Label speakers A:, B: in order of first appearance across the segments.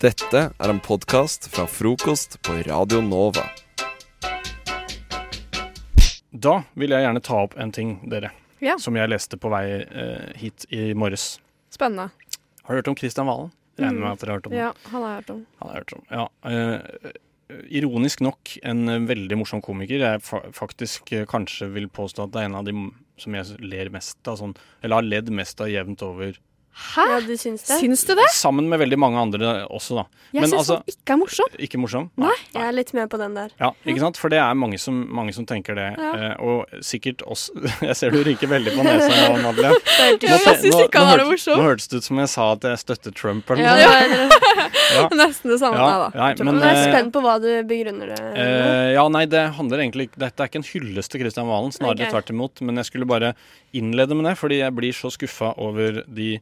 A: Dette er en podkast fra frokost på Radio Nova.
B: Da vil jeg gjerne ta opp en ting, dere,
C: Ja.
B: som jeg leste på vei eh, hit i morges.
C: Spennende.
B: Har du hørt om Kristian Valen? Regner
D: Mm.
B: med at dere har hørt om
C: Ja, han har jeg hørt om.
B: Han har jeg hørt om. Ja, eh, ironisk nok en eh, veldig morsom komiker. Jeg fa faktisk eh, kanskje vil påstå at det er en av de m- som jeg ler mest av, sånn, eller har ledd mest av jevnt over.
C: Hæ?
D: Ja, du syns det?
C: Syns du det?
B: Sammen med veldig mange andre også, da.
C: Jeg
B: Men
C: syns han
B: altså-
C: ikke er morsom.
B: Ikke morsom?
D: Jeg er litt med på den der.
B: Ja, ikke sant? For det er mange som, mange som tenker det.
C: Ja.
B: eh, Og sikkert oss Jeg ser du rynker veldig på nesa nå,
C: Ja,
B: Madeleine.
C: jeg
B: Nå te-
C: synes
B: nå-
C: ikke han
B: nå
C: er
B: hørtes-
C: morsom.
B: Nå hørtes det ut som jeg sa at jeg støtter Trump eller
D: Ja,
B: noe.
D: det var,
C: Nesten det samme, da.
B: Ja, nei, men,
D: men jeg er
B: eh,
D: spent på hva du begrunner det med.
B: Eh, ja, nei, det handler egentlig ikke Dette er ikke en hyllest til Kristian Valen, snarere
D: Ok.
B: tvert imot. Men jeg skulle bare innlede med det, fordi jeg blir så skuffa over de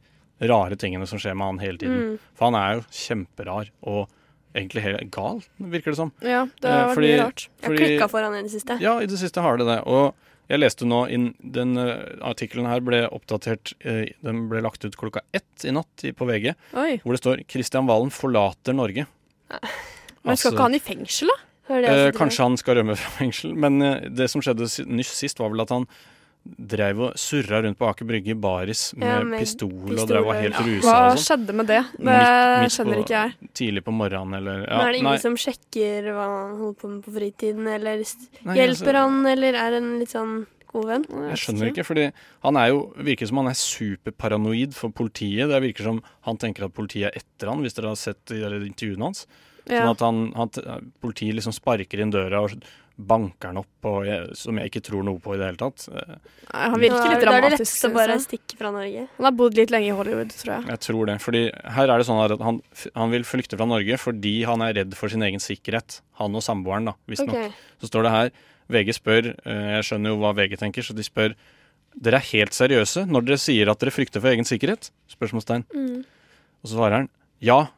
B: rare tingene som skjer med han hele tiden.
D: Mm.
B: For han er jo kjemperar, og egentlig helt gal, virker det som.
C: Ja, det
B: Eh,
C: har vært
B: fordi-
C: mye rart.
D: Jeg har
B: fordi-
D: klikka for han i det siste.
B: Ja, i det siste har det det. Og jeg leste nå inn Den eh, artikkelen her ble oppdatert eh, Den ble lagt ut klokka ett i natt i- på VG,
C: Oi.
B: hvor det står 'Kristian Valen forlater Norge'.
C: Men skal
B: Altså-
C: ikke han i fengsel, da?
D: Hør det,
B: Eh,
D: altså,
B: kanskje han skal rømme fra fengsel, men eh, det som skjedde si- nyss sist, var vel at han dreiv og surra rundt på Aker Brygge i baris med,
D: Ja, med
B: pistol, og
D: pistol,
B: dreiv og var helt
D: ja.
B: rusa
C: Hva
B: og sånn.
C: skjedde med det? Det
B: Midt- midt
C: skjønner
B: på-
C: ikke jeg.
B: Tidlig på morgenen eller
D: Men
B: ja,
D: er det ingen
B: nei,
D: som sjekker hva han holder på med på fritiden, eller s-
B: nei, altså,
D: hjelper han, eller er han litt sånn god venn?
B: Jeg skjønner ikke, fordi han er jo, virker som han er superparanoid for politiet. Det virker som han tenker at politiet er etter han, hvis dere har sett de der intervjuene hans.
C: Ja.
B: Sånn at han, han, politiet liksom sparker inn døra og banker han opp, og jeg, som jeg ikke tror noe på i det hele tatt. Eh,
C: Nei, Han virker litt
D: Da er det
C: dramatisk.
D: lettest å
C: synes
D: bare
C: jeg.
D: stikke fra Norge.
C: Han har bodd litt lenge i Hollywood, tror jeg.
B: Jeg tror det. fordi her er det sånn her at han, han vil flykte fra Norge fordi han er redd for sin egen sikkerhet. Han og samboeren, da, visstnok.
D: Ok.
B: Så står det her VG spør eh, Jeg skjønner jo hva VG tenker, så de spør Dere er helt seriøse når dere sier at dere frykter for egen sikkerhet? Spørsmålstegn.
C: Mm.
B: Og så svarer han ja.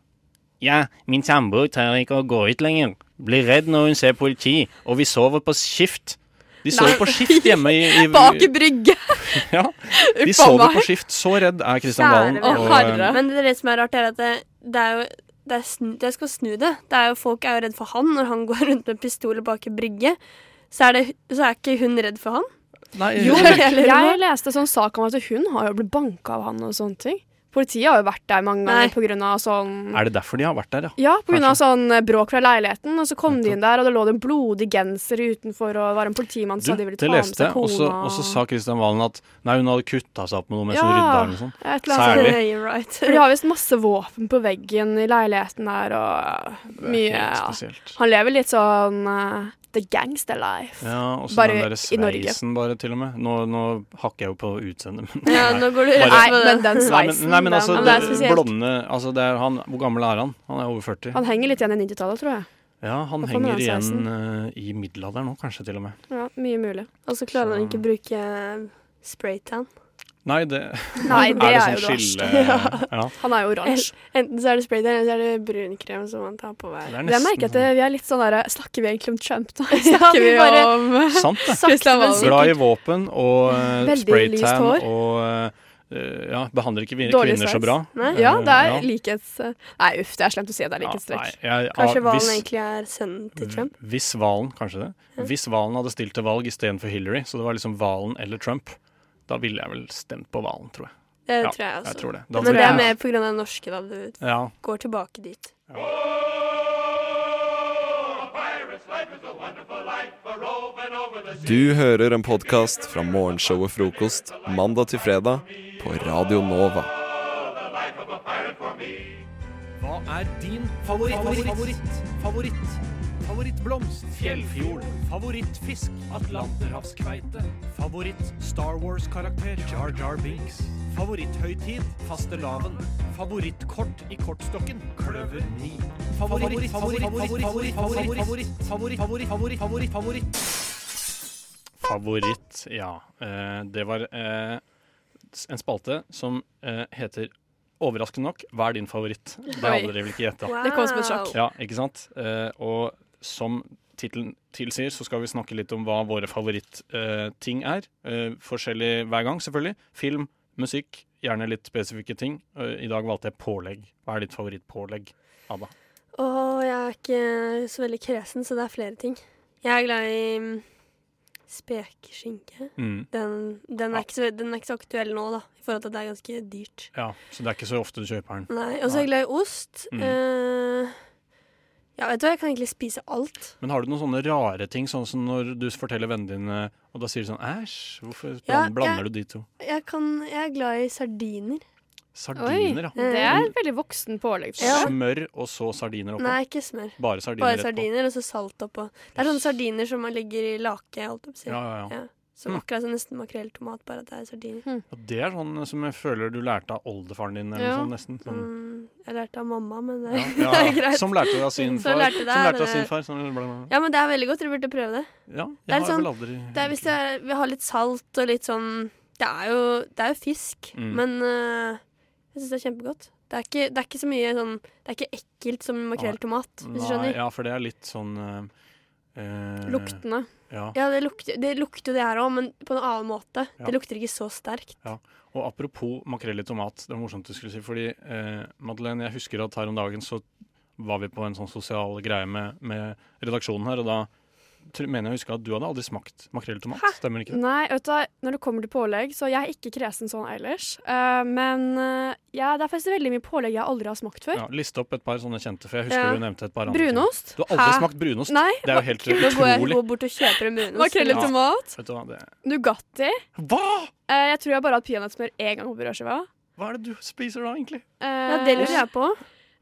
B: Ja, min samboer tør ikke å gå ut lenger. Blir redd når hun ser politi, og vi sover på skift. De sover på skift hjemme i, i
C: Bak i brygge!
B: Ja, de
C: Uff a
B: sover
C: meg.
B: på skift. Så redd er Kristian Valen.
D: Kjære
C: venn.
B: og,
C: Å, herre.
B: eh,
D: Men det, er det som er rart, er at det, det er jo det er snu, Jeg skal snu det. det er jo, folk er jo redd for han når han går rundt med pistol bak i brygge. Så er, det, så er ikke hun redd for han.
B: Nei,
C: Jo,
D: det er det jeg lurer på.
C: jeg leste sånn sak om at hun har jo blitt banka av han og sånne ting. Politiet har jo vært der mange
D: Nei.
C: ganger på grunn av sånn
B: Er det derfor de har vært der, ja?
C: Ja, på grunn av sånn eh, bråk fra leiligheten. Og så kom de inn der, og det lå det en blodig genser utenfor, og det var en politimann
B: Du,
C: som sa de ville
B: det
C: ta med
B: leste
C: seg
B: jeg, og så-
C: kona.
B: og så sa Kristian Valen at nei, hun hadde kutta seg opp med noe mens hun
C: Ja.
B: rydda eller noe sånt.
C: Et eller annet
B: sånn. Særlig.
C: sånt.
D: You're right.
C: For de har visst masse våpen på veggen i leiligheten der, og
B: Det er
C: mye
B: helt
C: ja.
B: spesielt.
C: Han lever litt sånn eh, the gangster life.
B: Ja, og så
C: Bare
B: den derre
C: i Norge.
B: sveisen, bare, til og med. Nå, nå hakker jeg jo på utseendet, men
D: Ja, nå går du
B: Bare-
D: rett
C: Nei,
D: på
C: men
D: det.
C: den
B: Nei, men,
C: sveisen
B: nei, men altså,
C: den,
D: det er
B: det-
D: spesielt.
B: blonde altså det er han, Hvor gammel er han? Han er over 40.
C: Han henger litt igjen i 90-tallet, tror jeg.
B: ja,
C: får
B: han
C: man
B: henger
C: den
B: igjen eh, i middelalderen nå, kanskje til og med.
C: Ja, Mye mulig.
D: Og så klarer
B: Så-
D: han ikke å bruke eh, spraytan.
B: Nei, det,
C: Nei, det er,
B: er
C: jo
B: det
C: det verste.
B: sånn skille ja.
C: Han er jo oransje.
D: Enten så er det spraytan, eller så er det brunkrem som man tar på hver.
B: Det er
C: Men Jeg merker
B: nesten
C: at det, vi er litt sånn derre Snakker vi egentlig om Trump, da?
D: Ja,
C: Snakker vi
D: vi bare-
C: om
B: sant, det.
C: Kristian
D: men
C: Valen.
D: sikkert.
B: Glad i våpen og eh,
C: Veldig lyst
B: spraytan
C: hår.
B: og eh, ja, behandler ikke vi-
C: Dårlig
B: kvinner
C: sveis.
B: så bra.
D: Nei.
B: Eh,
C: Ja, det er
B: ja.
C: likhets... Nei, uff, det er slemt å si at det er
B: Ja,
C: likhetstrekk.
B: nei, jeg-
D: Kanskje
B: ja,
D: hvalen
B: hvis- Mm.
D: egentlig er sønnen til Trump?
B: Hvis Valen, kanskje det. Hvis Valen hadde stilt til valg istedenfor Hillary, så det var liksom Valen eller Trump, da ville jeg vel stemt på Valen, tror jeg.
D: Det
B: Ja,
D: tror jeg også.
B: Jeg tror det. Da
D: Men
B: tror
D: det er
B: jeg-
D: mer på grunn av det norske, da. Du
B: ja.
D: går tilbake dit.
A: Du hører en podkast fra morgenshowet Frokost mandag til fredag på Radio Nova.
B: Hva er din favoritt, favoritt, favoritt, favoritt, favorittblomst? Fjellfjord. Favorittfisk? Atlanterhavskveite. Favoritt Star Wars-karakter? Jar Jar Binks. Favoritthøytid? Fastelavn. Favorittkort i kortstokken? Kløver 9. Favoritt, favoritt, favoritt, favoritt, favoritt, favoritt, favoritt, favoritt, favoritt, favoritt, favoritt. Favoritt, ja. Eh, det var eh, en spalte som eh, heter Overraskende nok, hva er din favoritt?
C: Oi.
B: Det hadde dere vel ikke gjetta.
C: Det kom som et sjokk.
B: Ja, ikke sant? Eh, og som tittelen tilsier, så skal vi snakke litt om hva våre favorittting eh, ting er. Eh, forskjellig hver gang, selvfølgelig. Film, musikk, gjerne litt spesifikke ting. Eh, I dag valgte jeg pålegg. Hva er ditt favorittpålegg, Ada?
C: Og jeg er ikke så veldig kresen, så det er flere ting. Jeg er glad i mm, spekeskinke.
B: Mm.
C: Den, den,
B: Ja.
C: er ikke så, den er ikke så aktuell nå, da, i forhold til at det er ganske dyrt.
B: Ja, så det er ikke så ofte du kjøper den.
C: Nei, Og så er jeg glad i ost.
B: Mm.
C: Eh, ja, vet du hva, jeg kan egentlig spise alt.
B: Men har du noen sånne rare ting, sånn som når du forteller vennene dine, og da sier de sånn æsj, hvorfor bland-
C: Ja, jeg-
B: blander du de to?
C: Jeg, kan, jeg er glad i sardiner.
B: Sardiner, ja.
E: Det
B: Mm.
E: er et veldig voksen pålegg.
C: Ja.
B: Smør og så sardiner oppå.
C: Nei, ikke smør.
B: Bare sardiner
C: Bare
B: rett på.
C: sardiner, og så salt oppå. Det er sånne sardiner som man legger i lake. Holdt jeg på å si.
B: Ja, ja, ja.
C: Ja. Som
B: Mm.
C: akkurat som nesten makrelltomat, bare at det er sardiner.
E: Hmm.
B: Og det er sånn som jeg føler du lærte av oldefaren din, eller
E: Ja.
B: noe sånt, nesten. Sånn.
C: Mm, jeg lærte av mamma, men det,
B: Ja,
C: det
B: ja,
C: er
B: ja.
C: greit.
B: Som lærte av sin
C: Som
B: far.
C: lærte
B: Som
C: det, er
B: lærte av
C: det-
B: sin far. Sånn, bla, bla, bla.
C: Ja, men det er veldig godt. Dere burde prøve det.
B: Ja,
C: Det er
B: jeg har
C: sånn-
B: vel aldri
C: det er, hvis det er, vi har litt salt og litt sånn Det er jo, det er jo fisk,
B: Mm.
C: men øh, jeg syns det er kjempegodt. Det er, ikke, det er ikke så mye sånn Det er ikke ekkelt som makrelltomat, hvis Mm. du
B: Nei,
C: skjønner.
B: ja, for det er litt sånn eh, eh,
E: Luktende.
B: Ja.
C: Ja, det lukter, det lukter jo det her òg, men på en annen måte.
B: Ja.
C: Det lukter ikke så sterkt.
B: Og apropos makrell i tomat, det var morsomt du skulle si, fordi eh, Madeleine, jeg husker at her om dagen så var vi på en sånn sosial greie med, med redaksjonen her, og da tr- mener jeg å huske at du hadde aldri smakt makrell i tomat, stemmer ikke det?
E: Nei, vet du, hva, når det kommer til pålegg, så jeg er ikke kresen sånn ellers. Eh, men eh, ja, det er faktisk veldig mye pålegg jeg aldri har smakt før. Eh,
B: Ja, liste opp et par sånne kjente, for jeg husker
C: Ja.
B: du nevnte et par andre.
E: Brunost.
B: Du har aldri
C: Hæ?
B: smakt brunost?
E: Nei.
B: Det er jo helt
C: Nå går jeg
B: utrolig.
C: går bort og kjøper en brunost.
E: Makrell i
B: Ja.
E: tomat.
B: Vet du hva, det...
E: Nugatti.
B: hva?
E: Eh, jeg tror jeg bare har hatt peanøttsmør én gang på brødskiva.
B: Hva er det du spiser da, egentlig?
E: Eh,
C: Ja, det lurer jeg på.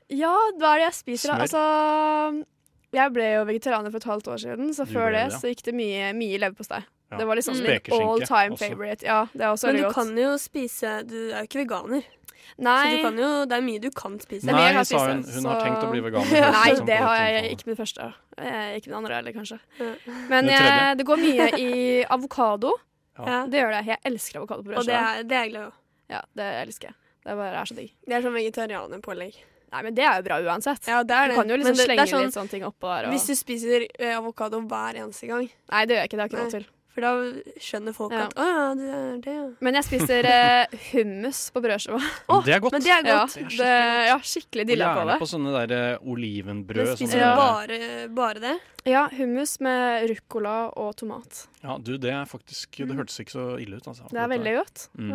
E: Ja, hva er det jeg spiser? da?
B: Smør.
E: Altså, jeg ble jo vegetarianer for et halvt år siden, så
B: Du
E: før
B: ble
E: det
B: det, ja.
E: så gikk det mye, mye leverpostei.
B: Ja.
E: Det var liksom min
B: Spekeskinke
E: all time
B: også.
E: favorite. Ja, det er også
C: Men
E: veldig
C: du
E: godt.
C: kan jo spise Du er jo ikke veganer, så du
E: Nei,
C: kan jo, det er mye du kan spise.
E: er mye
B: Nei,
E: jeg har
B: sa hun,
E: spist,
B: hun har
E: så-
B: tenkt å bli veganer. høres
E: Nei,
B: ut som
E: det
B: på
E: har
B: telefonen.
E: jeg ikke min første. Eh, Ikke min andre heller, kanskje.
C: Ja.
E: Men
B: Den
E: eh,
B: tredje.
E: det går mye i avokado.
C: Ja.
E: Det gjør det. Jeg elsker avokado på
C: Og det
E: brødskiva.
C: er, det er jeg glad i.
E: Ja, det elsker jeg. Det bare er så digg.
C: Det er sånn vegetarianerpålegg.
E: Nei, men det er jo bra uansett.
C: Ja, det er
E: Du
C: det.
E: kan jo
C: Men
E: liksom
C: det- det er
E: slenge
C: sånn-
E: litt sånne ting oppå der. Og...
C: Hvis du spiser eh, avokado hver eneste gang,
E: Nei, det gjør jeg ikke. Det har jeg ikke råd
C: Nei.
E: til.
C: for da skjønner folk
E: Ja.
C: at å ja, det er det, ja.
E: Men jeg spiser eh, hummus på brødskiva.
B: Det er godt.
C: Men det er
E: Ja,
C: godt.
E: det, ja, skikkelig
B: Og
E: dilla på
B: gjerne
E: det.
B: på sånne der eh, olivenbrød.
C: Men spiser du
B: sånne
E: Ja.
B: der-
C: bare, bare det?
E: Ja, hummus med ruccola og tomat.
B: Ja, du, det er faktisk Det hørtes ikke så ille ut, altså.
E: Mm. Det er veldig godt.
B: Mm.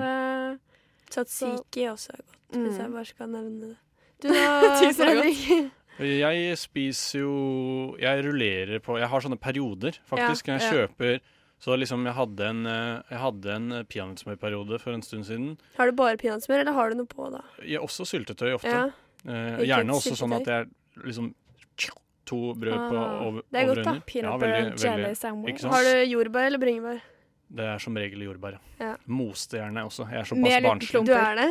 E: Det-
C: Tzatziki også er godt, hvis jeg
E: Mm.
C: bare skal nevne det. Du da,
E: Tusen takk.
C: Fredrik.
B: Jeg spiser jo Jeg rullerer på Jeg har sånne perioder, faktisk.
C: Ja,
B: jeg kjøper Så liksom jeg hadde en eh, Jeg hadde en eh, peanøttsmørperiode for en stund siden.
C: Har du bare peanøttsmør, eller har du noe på da?
B: Jeg også syltetøy ofte.
C: Ja.
B: Eh,
C: Ikke
B: gjerne også
C: syltetøy.
B: sånn at jeg liksom To brød på
E: Ah,
B: over
C: det er godt,
B: over
C: da.
B: under.
E: Peanut
B: Ja,
E: butter
B: veldig-
E: and jelly
B: veldig. Ikke
E: sandwich.
B: sant?
C: Har du jordbær eller bringebær?
B: Det er som regel jordbær. ja.
C: Ja.
B: Moste gjerne også. Jeg er såpass
E: Med litt
B: barnslig.
C: Du
E: klumper.
C: er det?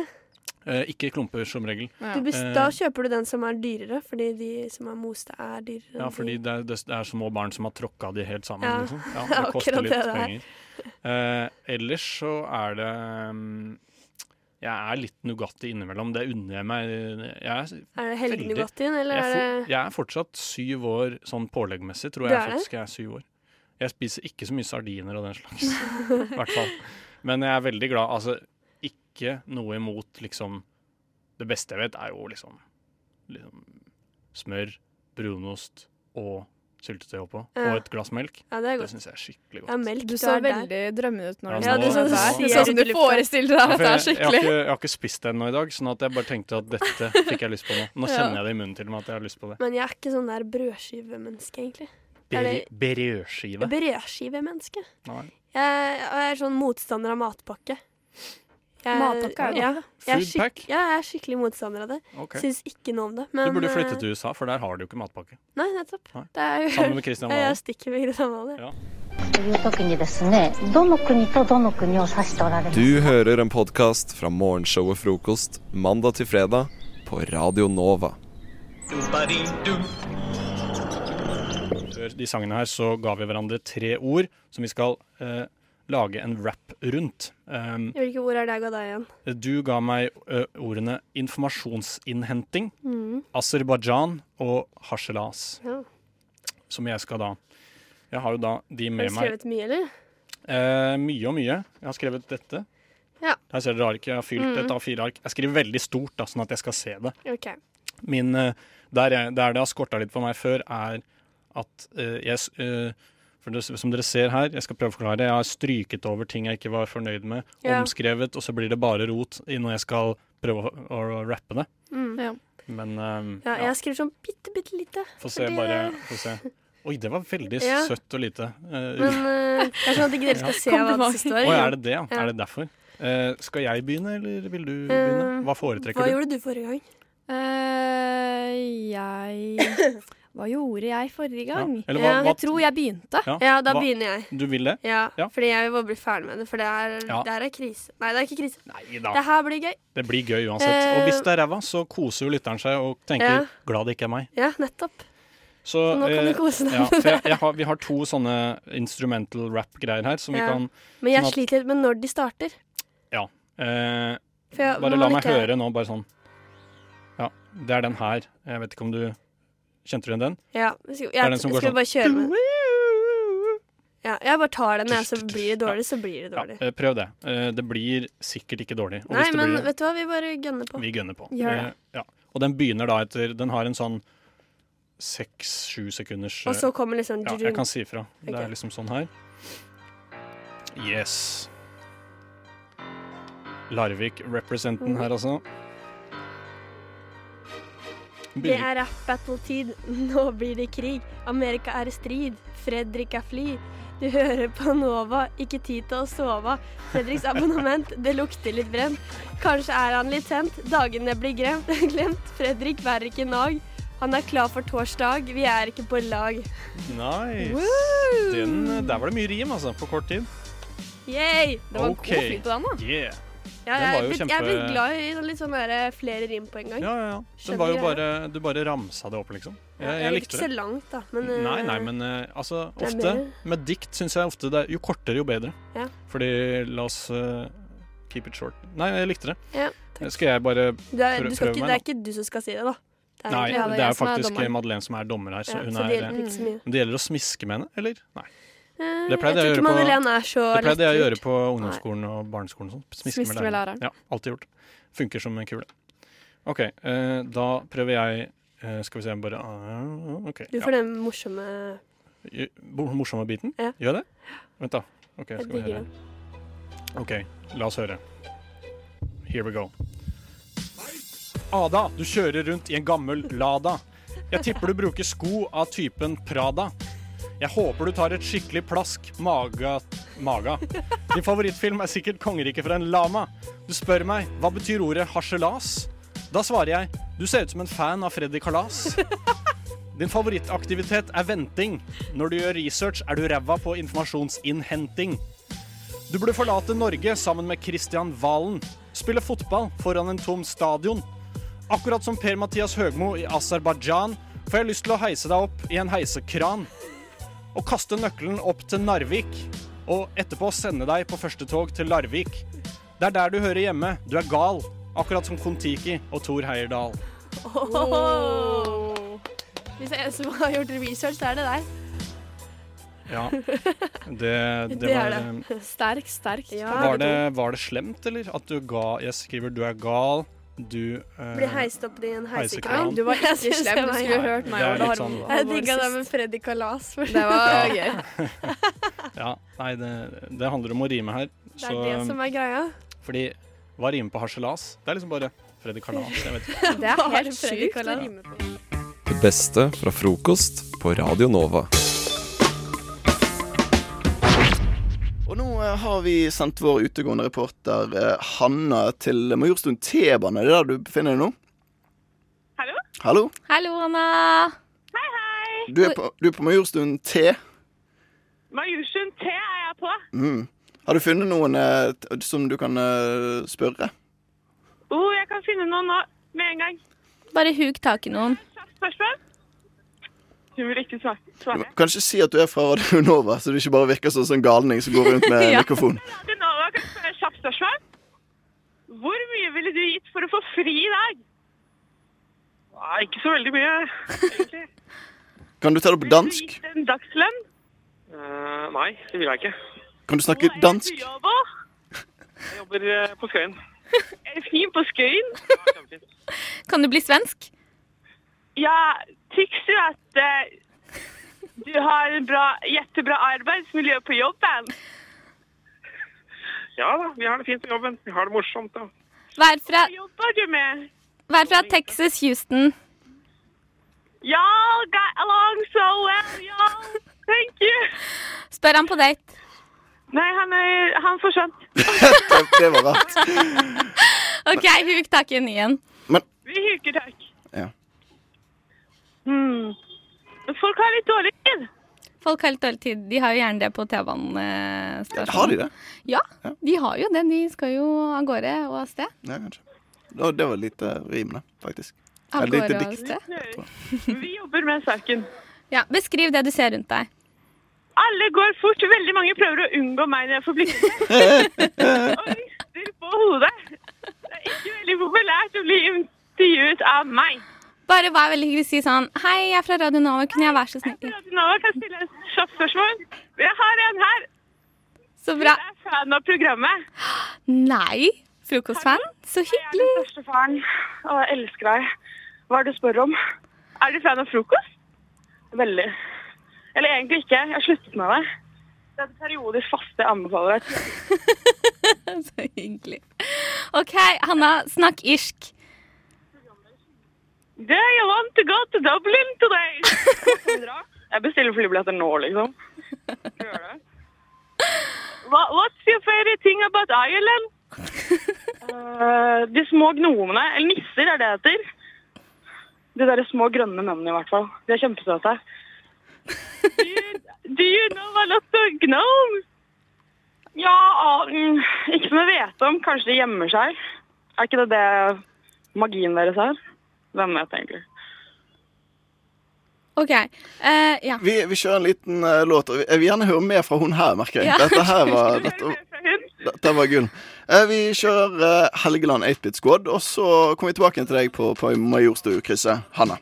B: Eh, ikke klumper, som regel.
C: Du
E: Ja.
C: bes
B: Eh.
C: da kjøper du den som er dyrere, fordi de som er moste, er dyrere. enn
B: Ja, fordi
C: de.
B: det er, det er små barn som har tråkka de helt sammen.
C: Ja.
B: Liksom. Ja, det
C: Akkurat
B: koster litt
C: det det er.
B: penger. Eh, ellers så er det mm, Jeg er litt Nugatti innimellom. Det unner jeg meg. Jeg er,
C: Er det Helge
B: Veldig.
C: Nugattien, eller er
B: jeg, er
C: det
B: for, jeg er fortsatt syv år sånn påleggmessig, tror
C: Du
B: jeg
C: er det?
B: faktisk jeg er syv år. Jeg spiser ikke så mye sardiner og den slags, i hvert fall. Men jeg er veldig glad. Altså, ikke noe imot liksom Det beste jeg vet, er jo liksom, liksom smør, brunost og syltetøy oppå,
C: Ja.
B: og et glass melk.
C: Ja, det er
B: Det
C: godt.
B: syns jeg er skikkelig
C: Ja,
B: godt.
C: melk.
E: Du
C: du
E: så
C: er der.
E: veldig drømmende ut når du
B: Ja,
E: snakket
B: det
E: om
B: er sånn
E: dette.
B: du
E: Det
C: sier
E: er sånn du
C: ut i lufta.
E: forestiller deg
B: Ja, for
E: dette er
B: jeg, jeg, har
E: skikkelig.
B: ikke, jeg har ikke spist det ennå i dag, sånn at jeg bare tenkte at dette fikk jeg lyst på nå. Nå kjenner jeg det i munnen til og med at jeg har lyst på det.
C: Men jeg er ikke sånn der brødskivemenneske, egentlig. Er
B: Ber
C: det-
B: Brødskive.
C: Brødskivemenneske.
B: Nei.
C: Jeg, jeg er sånn motstander av matpakke.
E: Matpakke er jo
C: ja, jeg er
B: Food pack?
C: skikk- Ja, jeg er skikkelig motstander av det.
B: Ok.
C: Syns ikke noe om det. Men,
B: Du burde flytte
C: eh,
B: til USA, for der har du jo ikke matpakke.
C: Nei, nettopp.
B: Nei.
C: Det er jo
B: Sammen med Kristian
C: Ja,
B: Valen.
C: jeg stikker med Kristian Valen.
B: Ja.
F: という時にですねどの国とどの国を指しておられますか
A: Du hører en podkast fra morgenshowet Frokost mandag til fredag på Radio Nova.
B: Før de sangene her så ga vi hverandre tre ord som vi skal eh, lage en rap rundt. Um,
C: Hvilke ord er det jeg ga deg igjen?
B: du ga meg ø, ordene informasjonsinnhenting, Aserbajdsjan og harselas.
C: Mm. Ja.
B: Som jeg skal da Jeg har jo da de
C: Har
B: med
C: du
B: meg.
C: skrevet mye, eller?
B: Eh, mye og mye. Jeg har skrevet dette.
C: Ja.
B: Her ser dere arket. Jeg har fylt
C: Mm.
B: et A4-ark. Jeg skriver veldig stort, da, sånn at jeg skal se det.
C: OK.
B: Min, eh, der, jeg, der det har skorta litt på meg før, er at eh, jeg s- eh, for det, Som dere ser her, jeg skal prøve å forklare. Jeg har stryket over ting jeg ikke var fornøyd med.
C: Ja.
B: Omskrevet, og så blir det bare rot i når jeg skal prøve å, å rappe det.
C: Mm.
B: Men eh,
C: Ja,
B: ja,
C: jeg har skrevet sånn bitte, bitte lite.
B: få se,
C: fordi-
B: bare. Få se. Oi, det var veldig
C: Ja.
B: søtt og lite. Eh,
C: Men eh, jeg skjønner at ikke dere skal se hva det
E: Kompliment.
C: står.
B: Å, er det det? ja?
C: Ja.
B: Er det derfor? Eh, skal jeg begynne, eller vil du begynne?
C: Eh,
B: Hva foretrekker
C: Hva
B: du?
C: gjorde du forrige gang?
E: Eh, jeg Hva gjorde jeg forrige gang?
B: Ja. Eller hva,
C: Ja,
B: hva,
E: Jeg tror jeg begynte.
B: Ja,
C: Ja, da
B: hva-
C: begynner jeg.
B: Du vil det?
C: Ja,
B: Ja.
C: Fordi jeg vil bare bli ferdig med det, for det er,
B: Ja.
C: det her er krise. Nei, det er ikke krise.
B: Nei da.
C: Det her blir gøy.
B: Det blir gøy uansett.
C: Eh,
B: Og hvis det er ræva, så koser jo lytteren seg og tenker
C: Ja.
B: 'glad det ikke er meg'.
C: Ja, nettopp.
B: Så,
C: Så nå kan
B: eh,
C: du kose deg.
B: ja, for jeg, jeg har, vi har to sånne instrumental rap-greier her som vi
C: Ja.
B: kan
C: Men
B: sånn
C: jeg
B: at-
C: sliter litt med når de starter.
B: eh,
C: For jeg,
B: Bare
C: man
B: la
C: vil
B: meg
C: ikke-
B: høre nå, bare sånn. Ja, det er den her. Jeg vet ikke om du Kjente du igjen den?
C: Ja, hvis jeg,
B: er
C: jeg,
B: den som
C: skal
B: går sånn.
C: bare kjøre med. Ja, jeg bare tar den, jeg, så blir det
B: Ja.
C: dårlig, så blir det
B: Ja,
C: dårlig.
B: eh, prøv det. Eh, Det blir sikkert ikke dårlig. Og
C: Nei,
B: hvis det
C: men
B: blir,
C: vet du hva, vi bare gønner på.
B: Vi gønner på.
E: Gjør det.
B: Eh, ja. Og den begynner da etter Den har en sånn seks-sju sekunders
C: Og så kommer liksom
B: eh, Ja, jeg kan si ifra. Det
C: Ok.
B: er liksom sånn her. Yes. Larvik representen her, altså.
C: Det
B: Begynner,
C: er rap battle-tid. Nå blir det krig. Amerika er i strid. Fredrik er fly. Du hører på Nova, ikke tid til å sove. Fredriks abonnement, det lukter litt brent. Kanskje er han litt tent. Dagene blir glemt. glemt. Fredrik bærer ikke nag. Han er klar for torsdag. Vi er ikke på lag.
B: nice! Den, eh, der var det mye rim, altså, på kort tid.
C: Yay!
E: Det var
B: Ok.
E: god flyt på den, da.
B: Yeah.
C: Ja,
B: Den
C: jeg,
B: var
C: er
B: jo
C: blitt, jeg er
B: kjempe-
C: blitt glad i sånn litt sånn der, flere rim på en gang.
B: Ja, ja, ja. Den
C: Skjønner
B: var jo
C: greia.
B: bare, du bare ramsa det opp, liksom. Jeg, jeg
C: gikk
B: likte
C: ikke
B: det.
C: så langt, da. Men, eh,
B: Nei, nei, men eh, altså,
C: det er
B: ofte
C: mer-
B: Med dikt syns jeg ofte det er Jo kortere, jo bedre.
C: Ja.
B: Fordi la oss eh, keep it short. Nei, jeg likte det. Eh,
C: Ja,
B: skal jeg bare
C: du er,
B: prøv-
C: du skal
B: prøv
C: ikke,
B: meg
C: det er ikke du som skal si det, da. Det er
B: Nei,
C: egentlig-
B: det
E: Ja,
B: er,
E: det er
B: jo
E: jeg som er
B: faktisk
E: dommer.
B: Madeleine som er dommer her, så
C: Ja,
B: hun
C: så det
B: er
C: hjelper ikke så mye.
B: Men det gjelder å smiske med henne, eller? Nei.
C: Eh,
B: Det
C: jeg
B: pleide jeg å
C: tror
B: gjøre
C: ikke
B: på-
C: Madeleine er så
B: Det pleide jeg å
C: lettlurt.
B: gjøre på ungdomsskolen og barneskolen. og Sånn. Smiske med
E: Smiske med læreren.
B: Ja, alltid gjort. Funker som en kule. OK, eh, da prøver jeg eh, Skal vi se, bare ah, OK.
C: Du får den morsomme
B: Ja. Bo- Morsomme biten?
C: Ja.
B: Gjør jeg det? Vent, da. OK,
C: Jeg
B: skal vi
C: digger
B: høre. OK, la oss høre. Here we go. Ada, du kjører rundt i en gammel Lada. Jeg tipper du bruker sko av typen Prada. Jeg håper du tar et skikkelig plask maga maga. Din favorittfilm er sikkert 'Kongeriket fra en lama'. Du spør meg hva betyr ordet harselas? Da svarer jeg du ser ut som en fan av Freddy Kalas. Din favorittaktivitet er venting. Når du gjør research, er du ræva på informasjonsinnhenting. Du burde forlate Norge sammen med Kristian Valen. Spille fotball foran en tom stadion. Akkurat som Per-Mathias Høgmo i Aserbajdsjan får jeg lyst til å heise deg opp i en heisekran. Og kaste nøkkelen opp til Narvik. Og etterpå sende deg på første tog til Larvik. Det er der du hører hjemme. Du er gal. Akkurat som Kon-Tiki og Thor Heyerdahl.
C: Hvis det er en som har gjort research, så er det deg.
B: Ja, det, det,
C: Det
B: var eh,
C: er
E: Sterk, sterk.
C: Ja.
B: var det, var det slemt, eller? At du ga Jeg skriver 'du er gal', du eh,
C: Blir heist opp i en
B: Heisekran.
C: heisekran.
E: Du var
C: Jeg
E: ikke
C: synes
E: slem.
C: det
E: Du
C: var-
E: skulle hørt
B: Nei,
E: meg.
B: det er
E: og det
B: litt
E: har-
B: sånn-
E: har
C: Jeg
E: vært
C: digga det
E: sist.
C: med Freddy Kalas. For
E: Det var gøy.
B: Ja, nei, det, det handler om å rime her.
C: det
B: Så,
C: er det som er greia.
B: fordi hva rimer på harselas? Det er liksom bare Freddy Kalas. Jeg vet ikke.
E: Det er
C: Bare
E: helt
C: Freddy
E: sjukt. å
C: Kalas.
E: rime på.
A: Det beste fra frokost på Radio Nova.
G: Og nå eh, har vi sendt vår utegående reporter eh, Hanna til Majorstuen T-bane. Er det der du befinner deg nå? Hallo?
H: Hallo, Anna.
G: Hallo. Du er på, du er på Majorstuen T.
I: Majusjun T er jeg på.
G: Mm. Har du funnet noen eh, t- som du kan eh, spørre?
I: Oh, jeg kan finne noe nå med en gang.
H: Bare huk tak i noen.
I: Kjapt spørsmål. Hun vil ikke svare.
G: Du
I: svare.
G: kan ikke si at du er fra Radio Nova, så du ikke bare virker sånn som en galning som går rundt med mikrofon.
I: Radio Nova kan spørre et kjapt spørsmål. Hvor mye ville du gitt for å få fri i dag? Nei, ikke så veldig mye, egentlig.
G: Kan du ta det på
I: Ville du
G: dansk?
I: gitt en dagslønn? Eh, nei, det vil jeg ikke.
G: Kan du snakke dansk?
I: Hvor er Byobo? Jeg jobber eh, på Skøyen. Er det fint på Skøyen?
H: Kan du bli svensk?
I: Ja, tykker du at eh, du har en bra, jättebra arbeidsmiljø på jobben? Ja da, vi har det fint på jobben. Vi har det morsomt da.
H: Vær fra,
I: Hva jobber du med?
H: vær fra Texas, Houston.
I: Y'all got along so well, y'all. Thank you.
H: Spør han på date.
I: Nei, han, er, han forsvant.
G: Det, det var rart.
H: OK, huk tak i en ny en.
I: Vi huker takk.
G: Ja.
I: Hmm. Men folk har litt dårlig tid.
H: Folk har litt dårlig tid. De har jo gjerne det på
G: Har
H: T-banestasjonen.
G: de det?
H: Ja, de har jo det. De skal jo av gårde og av sted.
G: Ja, kanskje. Da- Det var lite rim, da, faktisk.
H: Av
G: Et lite
H: gårde og av
G: dikt.
H: sted.
I: Vi jobber med saken.
H: Ja, beskriv det du ser rundt deg.
I: Alle går fort. Veldig mange prøver å unngå meg når jeg får blikket. Og rister på hodet. Det er ikke veldig populært å bli intervjuet av meg.
H: Bare vær veldig hyggelig og si sånn Hei, jeg er fra Radio Nova. Kunne jeg være så snill
I: Radionova kan stille et kjapt spørsmål. Jeg har en her.
H: Så
I: Jeg
H: bra.
I: er fan av programmet.
H: Nei. Frokostfan. Så
I: Jeg er
H: hyggelig.
I: den største faren, og jeg elsker deg. Hva er det du spør om? Er du fan av frokost? Veldig. Eller egentlig ikke. Jeg har sluttet med det. Det er periodisk faste jeg anbefaler deg.
H: Så hyggelig. OK, Hanna. Snakk irsk.
I: Do you want to go to Dublin today? Hva skal vi dra? Jeg bestiller flybilletter nå, liksom. Skal vi gjøre det? Wha- What's your favorite thing about Ireland? Eh, de små gnomene, eller nisser er det det heter. De der små grønne mennene i hvert fall. De er kjempesøte. Do you- Do you know a lot of gnomes? Ja, ah, mm, ikke som jeg vet om. Kanskje de gjemmer seg. Er ikke det det magien deres er? Hvem vet egentlig?
H: OK. eh, ja.
G: Vi, vi kjører en liten eh, låt. og vi- Jeg vil gjerne høre mer fra hun her, merker jeg.
H: Ja.
G: Dette her var,
I: Hører
G: dette,
I: dere fra hun?
G: dette var gull. Eh, Vi kjører eh, Helgeland 8-bit Squad, og så kommer vi tilbake til deg på, på Majorstukrysset, Hanna.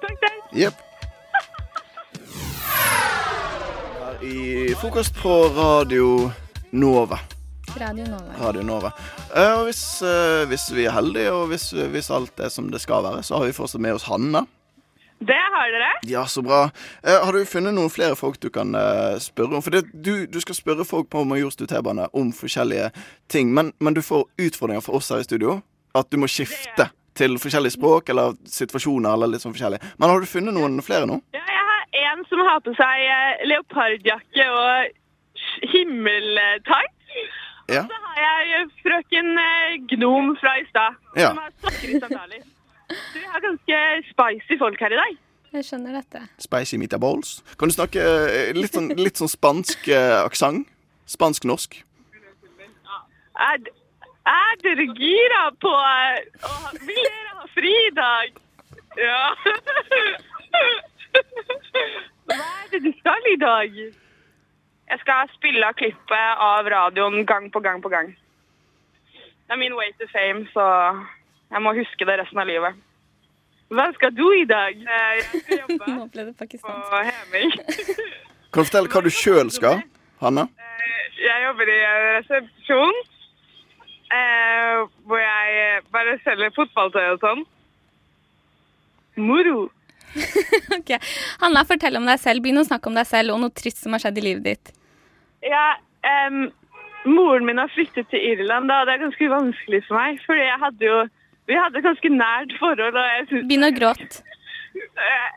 I: Takk, takk.
G: Jepp. Her i Frokost på Radio Nova.
H: Radio Nova.
G: Radio Nova. Eh, Og hvis, eh, hvis vi er heldige, og hvis, hvis alt er som det skal være, så har vi fortsatt med oss Hanna.
I: Det har dere.
G: Ja, så bra. Eh, har du funnet noen flere folk du kan eh, spørre om? For det, du, du skal spørre folk på Majorstu T-bane om forskjellige ting, men, men du får utfordringer fra oss her i studio. At du må skifte til forskjellige språk eller situasjoner eller litt sånn forskjellig. Men har du funnet noen flere nå?
I: Ja, jeg har en som har på seg eh, leopardjakke og sk- himmeltights.
G: Ja.
I: Så har jeg eh, frøken eh, Gnom fra i stad,
G: Ja.
I: som har sokker i sandaler. Så vi har ganske spicy folk her i dag.
H: Jeg skjønner dette.
G: Spicy meatballs. Kan du snakke eh, litt sånn, litt sånn spansk eh, aksent? Spansk-norsk?
I: Er, d- er dere gira på eh, å ha- Vil dere ha fri i dag? Ja. Hva er det du skal i dag? Jeg skal spille av klippet av radioen gang på gang på gang. Det er min way to fame, så jeg må huske det resten av livet. Hva skal du i dag? Eh, Jeg skal jobbe
H: Nå ble det pakistansk.
I: på Heming.
G: Kan du fortelle hva du sjøl skal, Hanna?
I: Jeg jobber i en resepsjon eh, hvor jeg eh, bare selger fotballtøy og sånn. Moro!
H: Ok. Hanna, fortell om deg selv. Begynn å snakke om deg selv og noe trist som har skjedd i livet ditt.
I: Ja, em, moren min har flyttet til Irland, da, og det er ganske vanskelig for meg. Fordi jeg hadde jo Vi hadde et ganske nært forhold, og jeg syns
H: Begynn å gråte.
I: eh,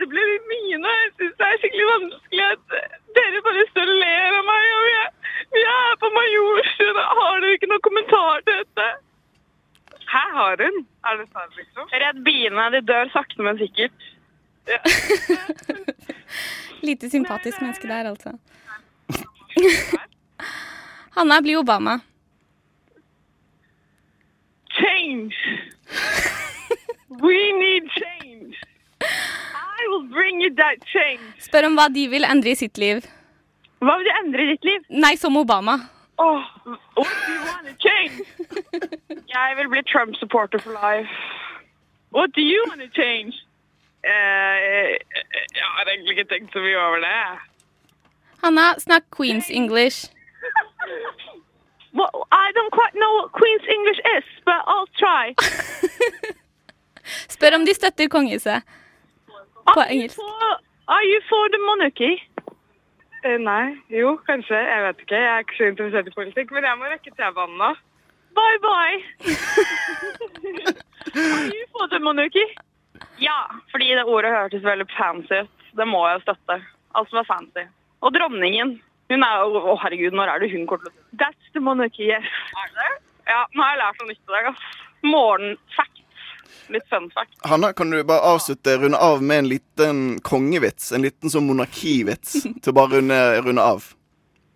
I: Det ble litt mye nå. Jeg syns det er skikkelig vanskelig at dere bare står og ler av meg. Og vi er, vi er på Majorstuen, og har dere ikke noen kommentar til dette? Her har hun. Er det sant, liksom? Redd biene. De dør sakte, men sikkert.
H: Lite sympatisk menneske der, altså. Hanna blir Obama.
I: Change! We need change! I will bring you that change.
H: Spør om hva de vil endre i sitt liv.
I: Hva vil du endre i ditt liv?
H: Nei, som Obama.
I: Oh, what do you want to change? Jeg vil bli Trump-supporter for life. What do you want to change? Eh, jeg har egentlig ikke tenkt så mye over det.
H: Hanna, snakk Queens English.
I: Well, I don't quite know what Queen's English is, but I'll try.
H: Spør om de støtter kongehuset. På
I: Are you
H: engelsk.
I: for, are you for the monarchy? Eh, nei. Jo, kanskje. Jeg vet ikke. Jeg er ikke så interessert i politikk, men jeg må rekke T-banen nå. Bye, bye. are you for the monarchy? Ja, fordi det ordet hørtes veldig fancy ut. Det må jeg støtte. Alt som er fancy. Og dronningen. Hun er jo Å, herregud, når er det hun kommer til å That's the monarchy, yes. Er det? Ja, nå har jeg lært noe nytt i dag, ass. Morgenfacts. Litt fun fact.
G: Hanna, kan du bare avslutte, runde av med en liten kongevits? En liten sånn monarkivits til å bare runde, runde av.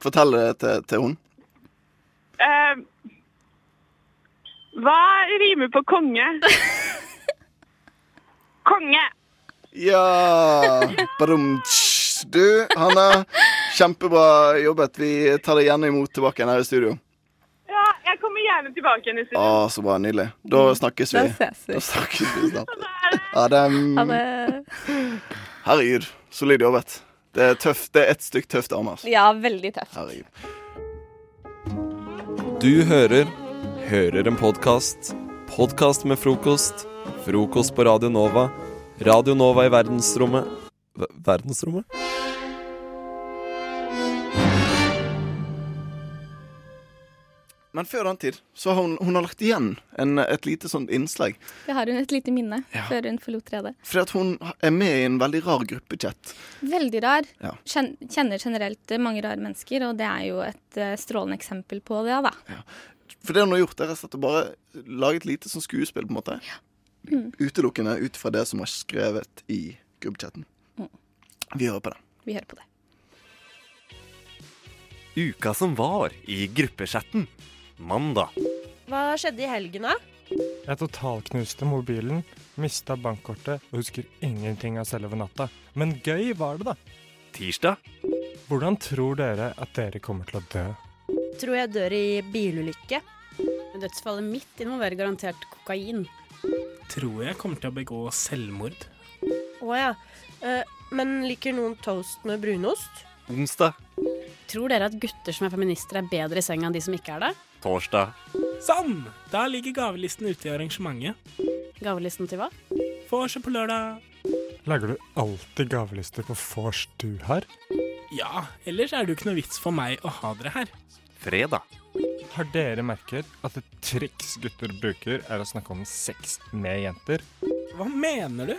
G: Fortell det til, til hun.
I: Eh, hva rimer på konge? konge.
G: Ja Badum, tsch. Du, Hanna, kjempebra jobbet. Vi tar deg gjerne imot tilbake igjen her i studio.
I: Ja, jeg kommer gjerne tilbake igjen i
G: Å,
I: studio.
G: så bra. Nydelig. Da snakkes vi.
H: Da ses vi.
G: Da snakkes vi snart. Ha det.
H: Ha det.
G: Herregud, solid jobbet. Det er tøft. Det er ett stykk tøft arme, altså.
H: Ja, veldig tøft.
G: Herregud.
A: Du hører Hører en podkast. Podkast med frokost. Frokost på Radio Nova. Radio Nova i verdensrommet Ver- Verdensrommet?
G: Men før den tid så har hun, hun har lagt igjen en, et lite sånt innslag.
H: Det har hun et lite minne før hun forlot redet.
G: Fordi at hun er med i en veldig rar gruppechat.
H: Veldig rar.
G: Ja.
H: Kjen- Kjenner generelt eh, mange rare mennesker, og det er jo et eh, strålende eksempel på det, da.
G: For det hun har gjort, er rett og slett å bare lage et lite sånn skuespill, på en måte.
H: Mm.
G: Utelukkende ut fra det som er skrevet i gruppechatten. Vi hører på det.
H: Vi hører på det.
J: Uka som var i gruppechatten. Mandag.
K: Hva skjedde i helgen, da?
L: Jeg totalknuste mobilen, mista bankkortet og husker ingenting av selve natta. Men gøy var det, da.
J: Tirsdag.
L: Hvordan tror dere at dere kommer til å dø?
K: Tror jeg dør i bilulykke. Dødsfallet mitt involverer garantert kokain.
M: Tror jeg kommer til å begå selvmord.
K: Å ja. Eh, men liker noen toast med brunost?
J: Onsdag.
K: Tror dere at gutter som er feminister, er bedre i senga enn de som ikke er det?
J: Torsdag.
M: Sann! Sånn! Da ligger gavelisten ute i arrangementet.
K: Gavelisten til hva?
M: Vorset på lørdag.
L: Lager du alltid gavelister på vors du har?
M: Ja, Ah, ellers er det jo ikke noe vits for meg å ha dere her.
J: Fredag.
L: Har dere merket at et triks gutter bruker, er å snakke om sex med jenter?
M: Hva mener du?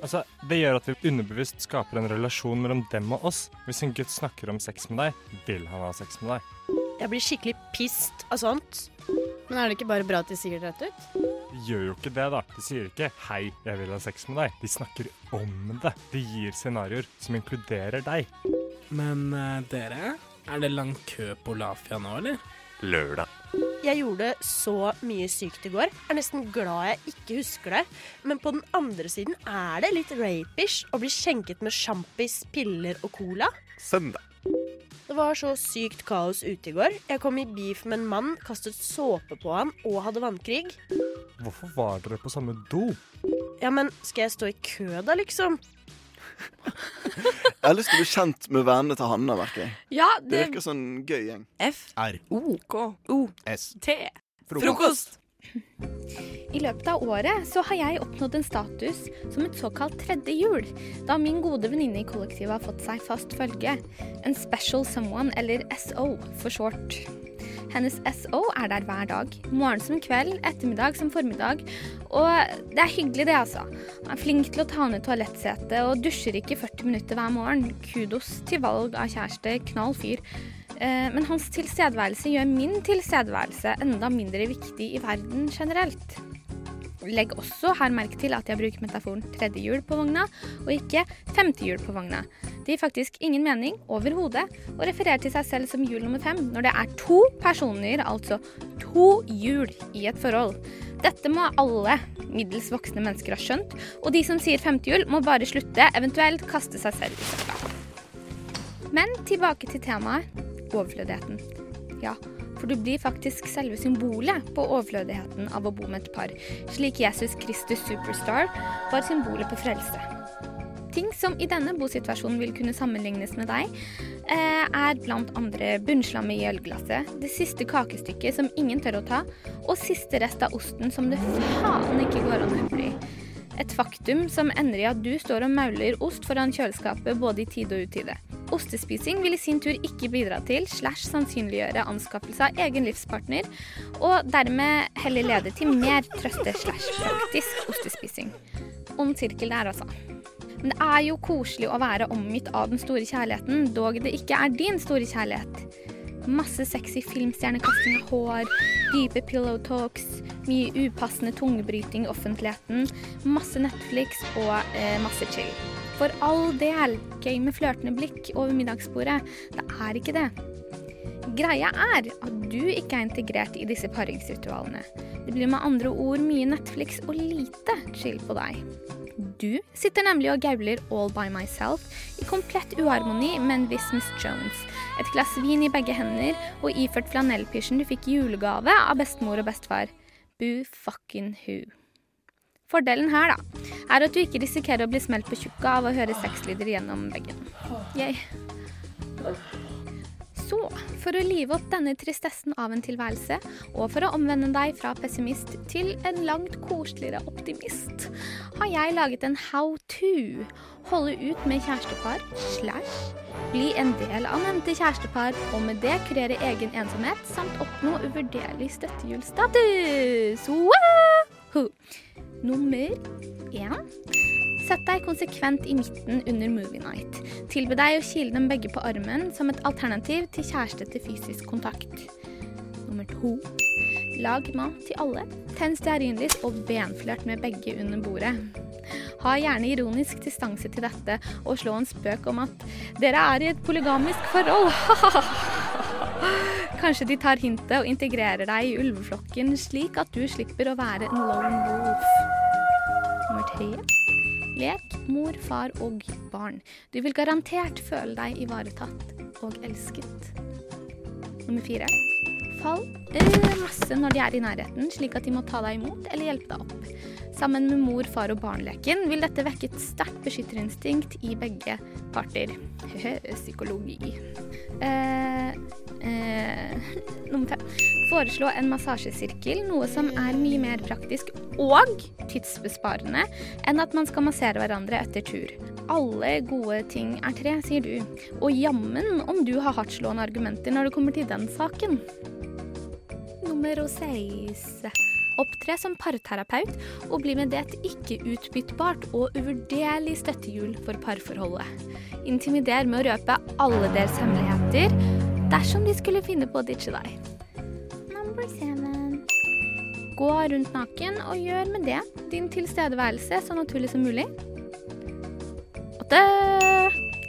L: Altså, Det gjør at vi underbevisst skaper en relasjon mellom dem og oss. Hvis en gutt snakker om sex med deg, vil han ha sex med deg.
K: Jeg blir skikkelig pissed av sånt. Men er det ikke bare bra at de sier det rett ut?
L: De gjør jo ikke det, da. De sier ikke 'hei, jeg vil ha sex med deg'. De snakker om det. De gir scenarioer som inkluderer deg.
M: Men eh, dere, er det lang kø på Lafia nå, eller?
J: Lørdag.
K: Jeg gjorde så mye sykt i går. Er nesten glad jeg ikke husker det. Men på den andre siden er det litt rapish å bli skjenket med sjampis, piller og cola.
J: Søndag.
K: Det var så sykt kaos ute i går. Jeg kom i beef med en mann, kastet såpe på han og hadde vannkrig.
L: Hvorfor var dere på samme do?
K: Ja, men skal jeg stå i kø da, liksom?
G: Jeg har lyst til å bli kjent med vennene til Hanna, merker jeg.
N: Ja,
G: Det virker sånn gøy gjeng.
N: F,
G: R.
N: O, K, O,
G: S.
N: T. E.
G: Frokost.
H: I løpet av året så har jeg oppnådd en status som et såkalt tredje hjul, da min gode venninne i kollektivet har fått seg fast følge. En special someone, eller SO for short. Hennes SO er der hver dag. Morgen som kveld, ettermiddag som formiddag. Og det er hyggelig, det, altså. Han er flink til å ta ned toalettsetet og dusjer ikke 40 minutter hver morgen. Kudos til valg av kjæreste. Knall fyr. Eh, Men hans tilstedeværelse gjør min tilstedeværelse enda mindre viktig i verden generelt. Legg også her merke til at jeg bruker metaforen tredje hjul på vogna, og ikke femte hjul på vogna. Det gir faktisk ingen mening overhodet, og refererer til seg selv som hjul nummer fem når det er to personer, altså to hjul, i et forhold. Dette må alle middels voksne mennesker ha skjønt, og de som sier femte hjul, må bare slutte, eventuelt kaste seg selv i søpla. Men tilbake til temaet overflødigheten. Ja, for du blir faktisk selve symbolet på overflødigheten av å bo med et par, slik Jesus Kristus Superstar var symbolet på frelse. Ting som i denne bosituasjonen vil kunne sammenlignes med deg, eh, er blant andre bunnslam i ølglasset, det siste kakestykket som ingen tør å ta, og siste rest av osten som det faen ikke går an å øvre i. Et faktum som ender i at du står og mauler ost foran kjøleskapet både i tide og utide. Ostespising vil i sin tur ikke bidra til slash sannsynliggjøre anskaffelse av egen livspartner, og dermed heller lede til mer trøste slash praktisk ostespising. Ond sirkel der, altså. Men det er jo koselig å være omgitt av den store kjærligheten, dog det ikke er din store kjærlighet. Masse sexy filmstjernekasting av hår, dype pillow talks, mye upassende tungebryting i offentligheten, masse Netflix og eh, masse chill. For all del, gøy med flørtende blikk over middagsbordet. Det er ikke det. Greia er at du ikke er integrert i disse paringsritualene. Det blir med andre ord mye Netflix og lite chill på deg. Du sitter nemlig og gauler all by myself i komplett uharmoni med en viss Miss Jones. Et glass vin i begge hender og iført flanellpysjen du fikk i julegave av bestemor og bestefar. Boo fucking who. Fordelen her, da, er at du ikke risikerer å bli smelt på tjukka av å høre sexlyder gjennom veggen. Yay. Så, for å live opp denne tristessen av en tilværelse, og for å omvende deg fra pessimist til en langt koseligere optimist, har jeg laget en how to. Holde ut med kjærestepar slash bli en del av nevnte kjærestepar, og med det kurere egen ensomhet samt oppnå uvurderlig støttehjulstatus. Wahoo! Nummer én Sett deg konsekvent i midten under movie night. Tilby deg å kile dem begge på armen som et alternativ til kjæreste til fysisk kontakt. Nummer to. Lag mat til alle. Tenn stearinlys og benflørt med begge under bordet. Ha gjerne ironisk distanse til dette og slå en spøk om at dere er i et polygamisk forhold. Kanskje de tar hintet og integrerer deg i ulveflokken, slik at du slipper å være en lone wolf. Nummer tre. Lek, mor, far og barn. Du vil garantert føle deg ivaretatt og elsket. Nummer fire. Fall eh, masse når de er i nærheten, slik at de må ta deg imot eller hjelpe deg opp. Sammen med mor, far og barn-leken vil dette vekke et sterkt beskytterinstinkt i begge parter. Psykologi. Eh, eh, nummer fem. Foreslå en massasjesirkel, noe som er mye mer praktisk og tidsbesparende enn at man skal massere hverandre etter tur. Alle gode ting er tre, sier du. Og jammen om du har hardtslående argumenter når det kommer til den saken. Nummer seks. Opptre som parterapeut og bli med det et ikke-utbyttbart og uvurderlig støttehjul for parforholdet. Intimider med å røpe alle deres hemmeligheter dersom de skulle finne på å ditche deg. Number seven. Gå rundt naken og gjør med det din tilstedeværelse så naturlig som mulig. Åtte.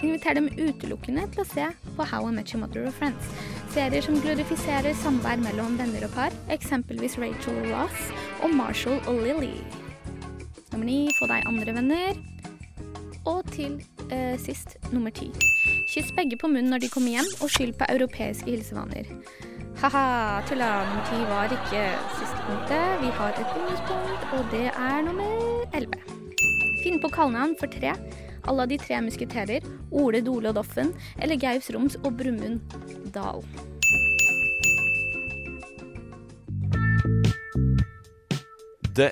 H: Inviter dem utelukkende til å se på How I Met Your Mother og Friends. Serier som glorifiserer samvær mellom venner og par, eksempelvis Rachel Ross og Marshall og Lily. Nummer ni, få deg andre venner. Og til eh, sist, nummer ti. Kyss begge på munnen når de kommer hjem, og skyld på europeiske hilsevaner. Haha, tulla. Nummer ti var ikke siste punktet. Vi har et bonuspunkt, og det er nummer elleve. Finn på kallenavn for tre. Alle de tre musketerer. Ole, Dole og Doffen. Eller Gaus Roms og Brumund Dal.
A: Det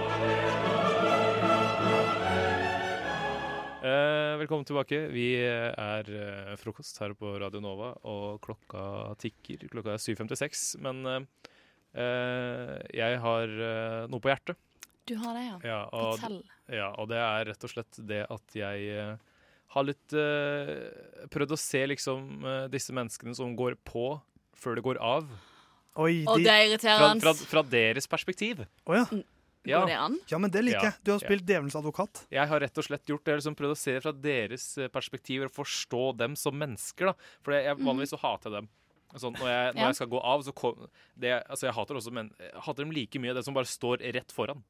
N: Eh, velkommen tilbake. Vi eh, er eh, frokost her på Radio Nova, og klokka tikker. Klokka er 7.56, men eh, eh, jeg har eh, noe på hjertet.
O: Du har det, ja.
N: Ja og,
O: Fortell.
N: ja, og det er rett og slett det at jeg eh, har litt eh, prøvd å se liksom eh, disse menneskene som går på før det går av.
P: Oi,
O: Og de- det er irriterende.
N: Fra, fra, fra deres perspektiv.
P: Å ja.
N: Ja.
P: Ja, men det liker
N: Ja,
P: jeg. Du har
N: ja.
P: spilt djevelens advokat.
N: Jeg har rett og slett gjort det. Jeg har liksom prøvd å se det fra deres eh, perspektiv og forstå dem som mennesker. da. For jeg, jeg, vanligvis så hater jeg dem. Sånn, når jeg, når
O: Mhm. Ja.
N: jeg skal gå av, så kom, det, altså Jeg hater også, men jeg hater dem like mye, det som bare står rett foran.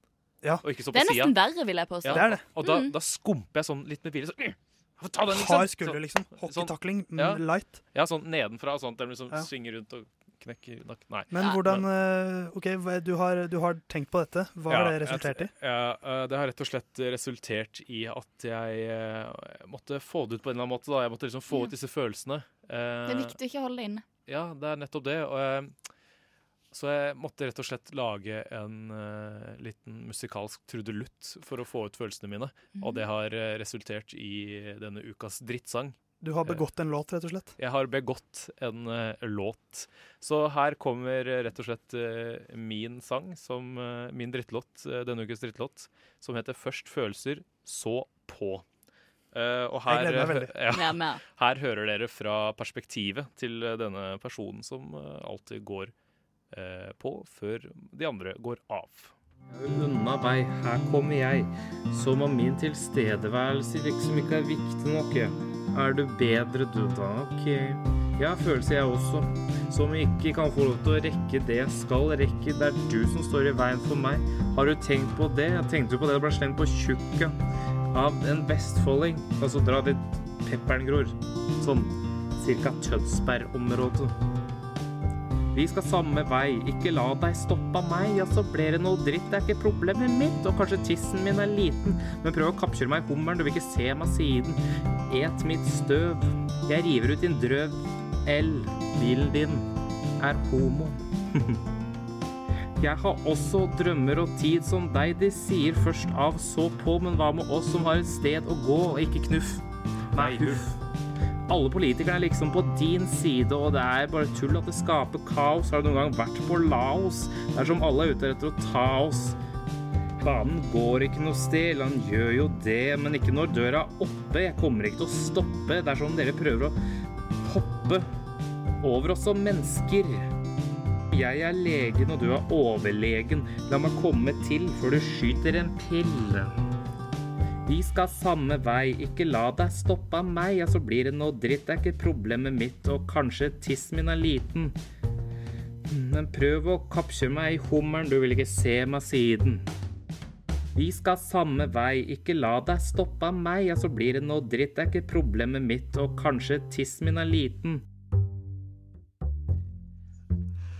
P: Ja.
N: Og ikke står
O: Det
N: på
O: er
N: sida.
O: nesten verre, vil jeg påstå.
N: Ja,
P: Det er det.
N: Og da,
O: Mm.
N: da skumper jeg sånn litt med vilje. Sånn, «Få ta den, liksom. sånn,
P: Hard skulder, liksom. Hockeytakling, mm,
N: Ja.
P: light.
N: Ja, sånn nedenfra, sånn at de liksom
P: Ja.
N: svinger rundt og knekker nak- Nei.
P: Men hvordan eh, OK, hva- du har, du har tenkt på dette. Hva har
N: Ja,
P: det resultert i?
N: jeg- Ja, eh, det har rett og slett resultert i at jeg eh, måtte få det ut på en eller annen måte. Da. Jeg måtte liksom få
O: Ja.
N: ut disse følelsene. Eh,
O: Det er viktig å ikke holde det inne.
N: Ja, det er nettopp det. Og jeg, så jeg måtte rett og slett lage en eh, liten musikalsk trudelutt for å få ut følelsene mine.
O: Mm.
N: Og det har eh, resultert i denne ukas drittsang.
P: Du har begått en låt, rett og slett.
N: Jeg har begått en eh, låt. Så her kommer eh, rett og slett eh, min sang, som eh, min drittlåt, eh, denne ukes drittlåt, som heter 'Først følelser, så på'. Eh, og her,
O: Jeg gleder meg veldig.
N: eh,
O: Jeg er med.
N: her hører dere fra perspektivet til eh, denne personen som eh, alltid går eh, på før de andre går av.
Q: Unna vei, her kommer jeg. Som om min tilstedeværelse liksom ikke er viktig nok. jeg. Er du bedre du, da? Ok. Jeg har følelser, jeg også. Som ikke kan få lov til å rekke det jeg skal rekke. Det er du som står i veien for meg. Har du tenkt på det? Jeg tenkte jo på det da jeg ble slengt på tjukka av en vestfolding. Altså, dra dit pepperen gror. Sånn cirka Tønsberg-området. Vi skal samme vei, ikke la deg stoppe av meg. Ja, så blir det noe dritt, det er ikke problemet mitt. Og kanskje tissen min er liten, men prøv å kappkjøre meg i hummeren, du vil ikke se meg siden. Et mitt støv, jeg river ut din drøv. L, bilen din, er homo. Jeg har også drømmer og tid som deg, de sier først av, så på, men hva med oss som har et sted å gå, og ikke knuff? Nei, huff. Alle politikerne er liksom på din side, og det er bare tull at det skaper kaos. Har du noen gang vært på Laos? Det er som alle er ute etter å ta oss. Banen går ikke noe sted, eller han gjør jo det, men ikke når døra er oppe. Jeg kommer ikke til å stoppe. Det er som om dere prøver å hoppe over oss som mennesker. Jeg er legen, og du er overlegen. La meg komme til før du skyter en pille. Vi skal samme vei, ikke la deg stoppe av meg. Ja, så blir det noe dritt, det er ikke problemet mitt, og kanskje tissen min er liten. Men prøv å kappkjøre meg i hummeren, du vil ikke se meg siden. Vi skal samme vei, ikke la deg stoppe av meg. Ja, så blir det noe dritt, det er ikke problemet mitt, og kanskje tissen min er liten.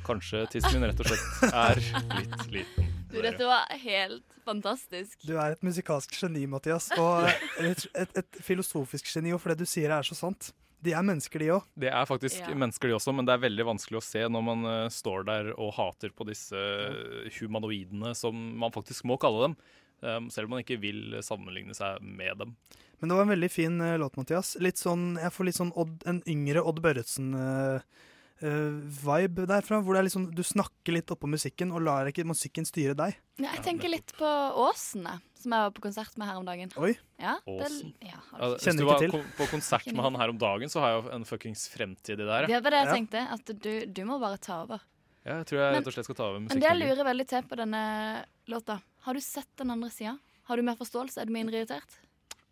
N: Kanskje
E: Ah,
N: tissen min rett og slett er litt liten.
O: Du, dette var helt fantastisk.
P: Du er et musikalsk geni, Mathias. Og et, et, et filosofisk geni, og for det du sier er så sant. De er mennesker, de òg.
N: Det er faktisk
P: Ja.
N: mennesker, de også, men det er veldig vanskelig å se når man eh, står der og hater på disse eh, humanoidene, som man faktisk må kalle dem, eh, selv om man ikke vil sammenligne seg med dem.
P: Men det var en veldig fin eh, låt, Mathias. Litt sånn, jeg får litt sånn Odd, en yngre Odd Børretzen-vibe derfra. Hvor det er litt sånn, du snakker litt oppå musikken og lar ikke musikken styre deg.
O: Ja, jeg tenker litt på Åsen, jeg, som jeg var på konsert med her om dagen.
P: Oi.
O: Ja, det,
N: Åsen?
O: ja,
N: Ja,
O: Ah, har du-
N: Hvis
P: Kjenner
N: du
P: ikke
N: var
P: til.
N: ko- på konsert med han her om dagen, så har jeg jo en fuckings fremtid i det her.
O: det var det jeg tenkte. At du, du må bare ta over.
N: Ja, jeg tror jeg
O: Men-
N: rett og slett skal ta over
O: Men det jeg
N: musikken.
O: lurer veldig til på denne låta. Har du sett den andre sida? Har du mer forståelse? Er du mindre irritert?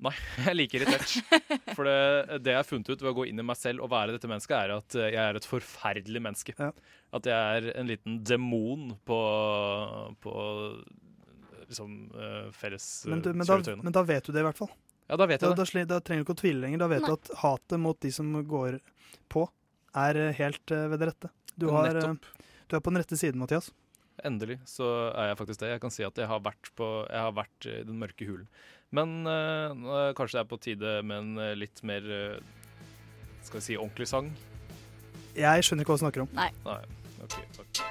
N: Nei, jeg er like irritert. For det, det jeg har funnet ut ved å gå inn i meg selv og være dette mennesket, er at eh, jeg er et forferdelig menneske. At jeg er en liten demon på, på liksom eh, felles eh,
P: Men, du, men, da,
N: kjøretøyene.
P: men da vet du det, i hvert fall.
N: Ja, da vet jeg
P: da, da,
N: det.
P: sli- da trenger du ikke å tvile lenger. Da vet
N: Nei.
P: du at hatet mot de som går på, er eh, helt eh, ved det rette. Du, har, eh,
N: Nettopp.
P: du er på den rette siden, Mathias.
N: Endelig så er jeg faktisk det. Jeg kan si at jeg har vært, på, jeg har vært i den mørke hulen. Men eh, nå- kanskje det er på tide med en eh, litt mer eh, Skal vi si ordentlig sang?
P: Jeg skjønner ikke hva du snakker om.
O: Nei.
N: ok, takk.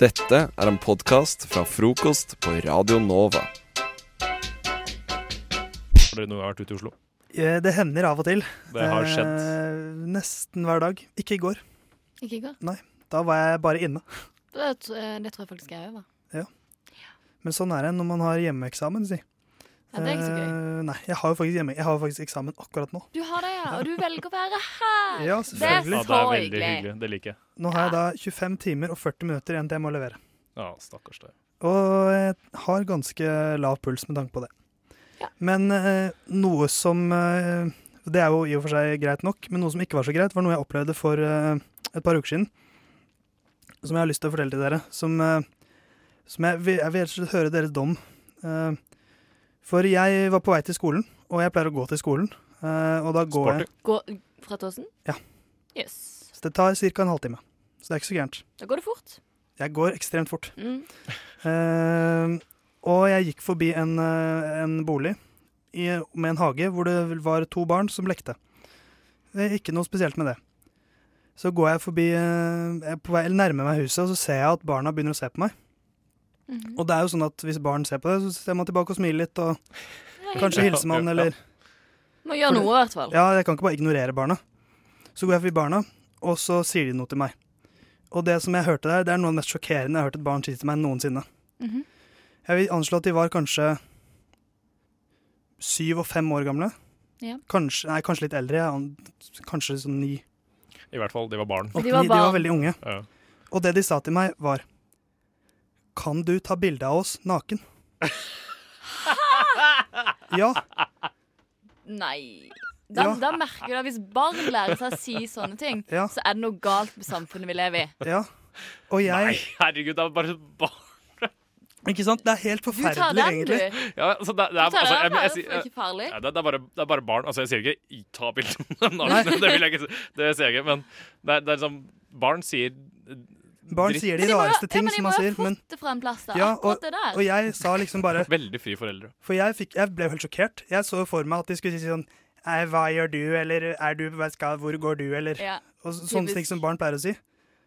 A: Dette er en podkast fra frokost på Radio Nova.
N: Har dere noe vært ute i Oslo?
P: Eh, Det hender av og til.
N: Det har skjedd.
P: Eh, nesten hver dag. Ikke i går.
O: Ikke i går?
P: Nei. Da var jeg bare inne.
O: Det, t- eh, det tror jeg faktisk jeg òg var.
P: Ja. Men sånn er det når man har hjemmeeksamen, si.
O: Ja, det er ikke så
P: Eh, nei, jeg har jo faktisk, hjemme, jeg har jo faktisk eksamen akkurat nå.
O: Du har det, ja. Og du velger å være her.
P: Ja,
O: det er så
P: selvfølgelig. Ja, det er veldig
O: hyggelig.
N: Hyggelig. Det liker jeg.
P: Nå har jeg da 25 timer og 40 minutter igjen til jeg må levere.
N: Ja, stakkars deg.
P: Og jeg har ganske lav puls med tanke på det. Men eh, noe som eh, Det er jo i og for seg greit nok, men noe som ikke var så greit, var noe jeg opplevde for eh, et par uker siden, som jeg har lyst til å fortelle til dere. Som, eh, som jeg, vil- jeg vil rett og slett høre deres dom. Eh, For jeg var på vei til skolen, og jeg pleier å gå til skolen. eh, Og da går jeg
O: Gå fra Tåsen?
P: Ja.
O: Yes.
P: Så det tar ca. en halvtime. Så det er ikke så gærent.
O: Da går det fort.
P: Jeg går ekstremt fort.
O: Mm.
P: Eh, og jeg gikk forbi en, eh, en bolig i, med en hage hvor det var to barn som lekte. Det er ikke noe spesielt med det. Så går jeg forbi, eh, jeg er på vei, eller nærmer meg huset, og så ser jeg at barna begynner å se på meg. Og det er jo sånn at hvis barn ser på det, så ser man tilbake og smiler litt, og
O: Ja, ja,
P: kanskje hilser man,
O: ja, ja.
P: eller
O: Må gjøre
P: For-
O: noe, i hvert fall.
P: Ja, jeg kan ikke bare ignorere barna. Så går jeg forbi barna, og så sier de noe til meg. Og det som jeg hørte der, det er noe av det mest sjokkerende jeg har hørt et barn si til meg noensinne.
O: Mhm.
P: Jeg vil anslå at de var kanskje syv og fem år gamle.
O: Ja.
P: Kanskje, nei, kanskje litt eldre. jeg an- Kanskje sånn ni.
N: I hvert fall, de var barn.
P: Åtte, ni, de var veldig unge.
N: Ja.
P: Og det de sa til meg, var Kan du ta bilde av oss naken? ja.
O: Nei. Da,
P: Ja.
O: da merker du at hvis barn lærer seg å si sånne ting,
P: Ja.
O: så er det noe galt med samfunnet vi lever i.
P: ja. Og jeg
N: Nei, herregud, det er bare barn.
P: Ikke sant? Det er helt forferdelig,
O: tar den, du.
P: egentlig.
N: Ja, altså, det, det er,
O: Du tar
N: altså,
O: deg
N: jeg,
O: av
N: jeg,
O: det, for det er ikke farlig.
N: Ja, det, det, er bare, det er bare barn. Altså, jeg sier ikke i- 'ta bilde med dem nakne', det vil jeg ikke si. Det sier jeg ikke, men det er, det er liksom Barn sier
P: Barn sier de rareste ting som man sier, men
O: Det er fra en plass, da.
P: ja, og,
O: Akkurat det der.
P: og jeg sa liksom bare
N: Veldig frie foreldre.
P: For jeg, fikk, jeg ble jo helt sjokkert. Jeg så for meg at de skulle si sånn «Nei, Hva gjør du, eller er du, hva skal, hvor går du, eller
O: Ja,
P: og så- Sånne
O: typisk.
P: ting som barn pleier å si.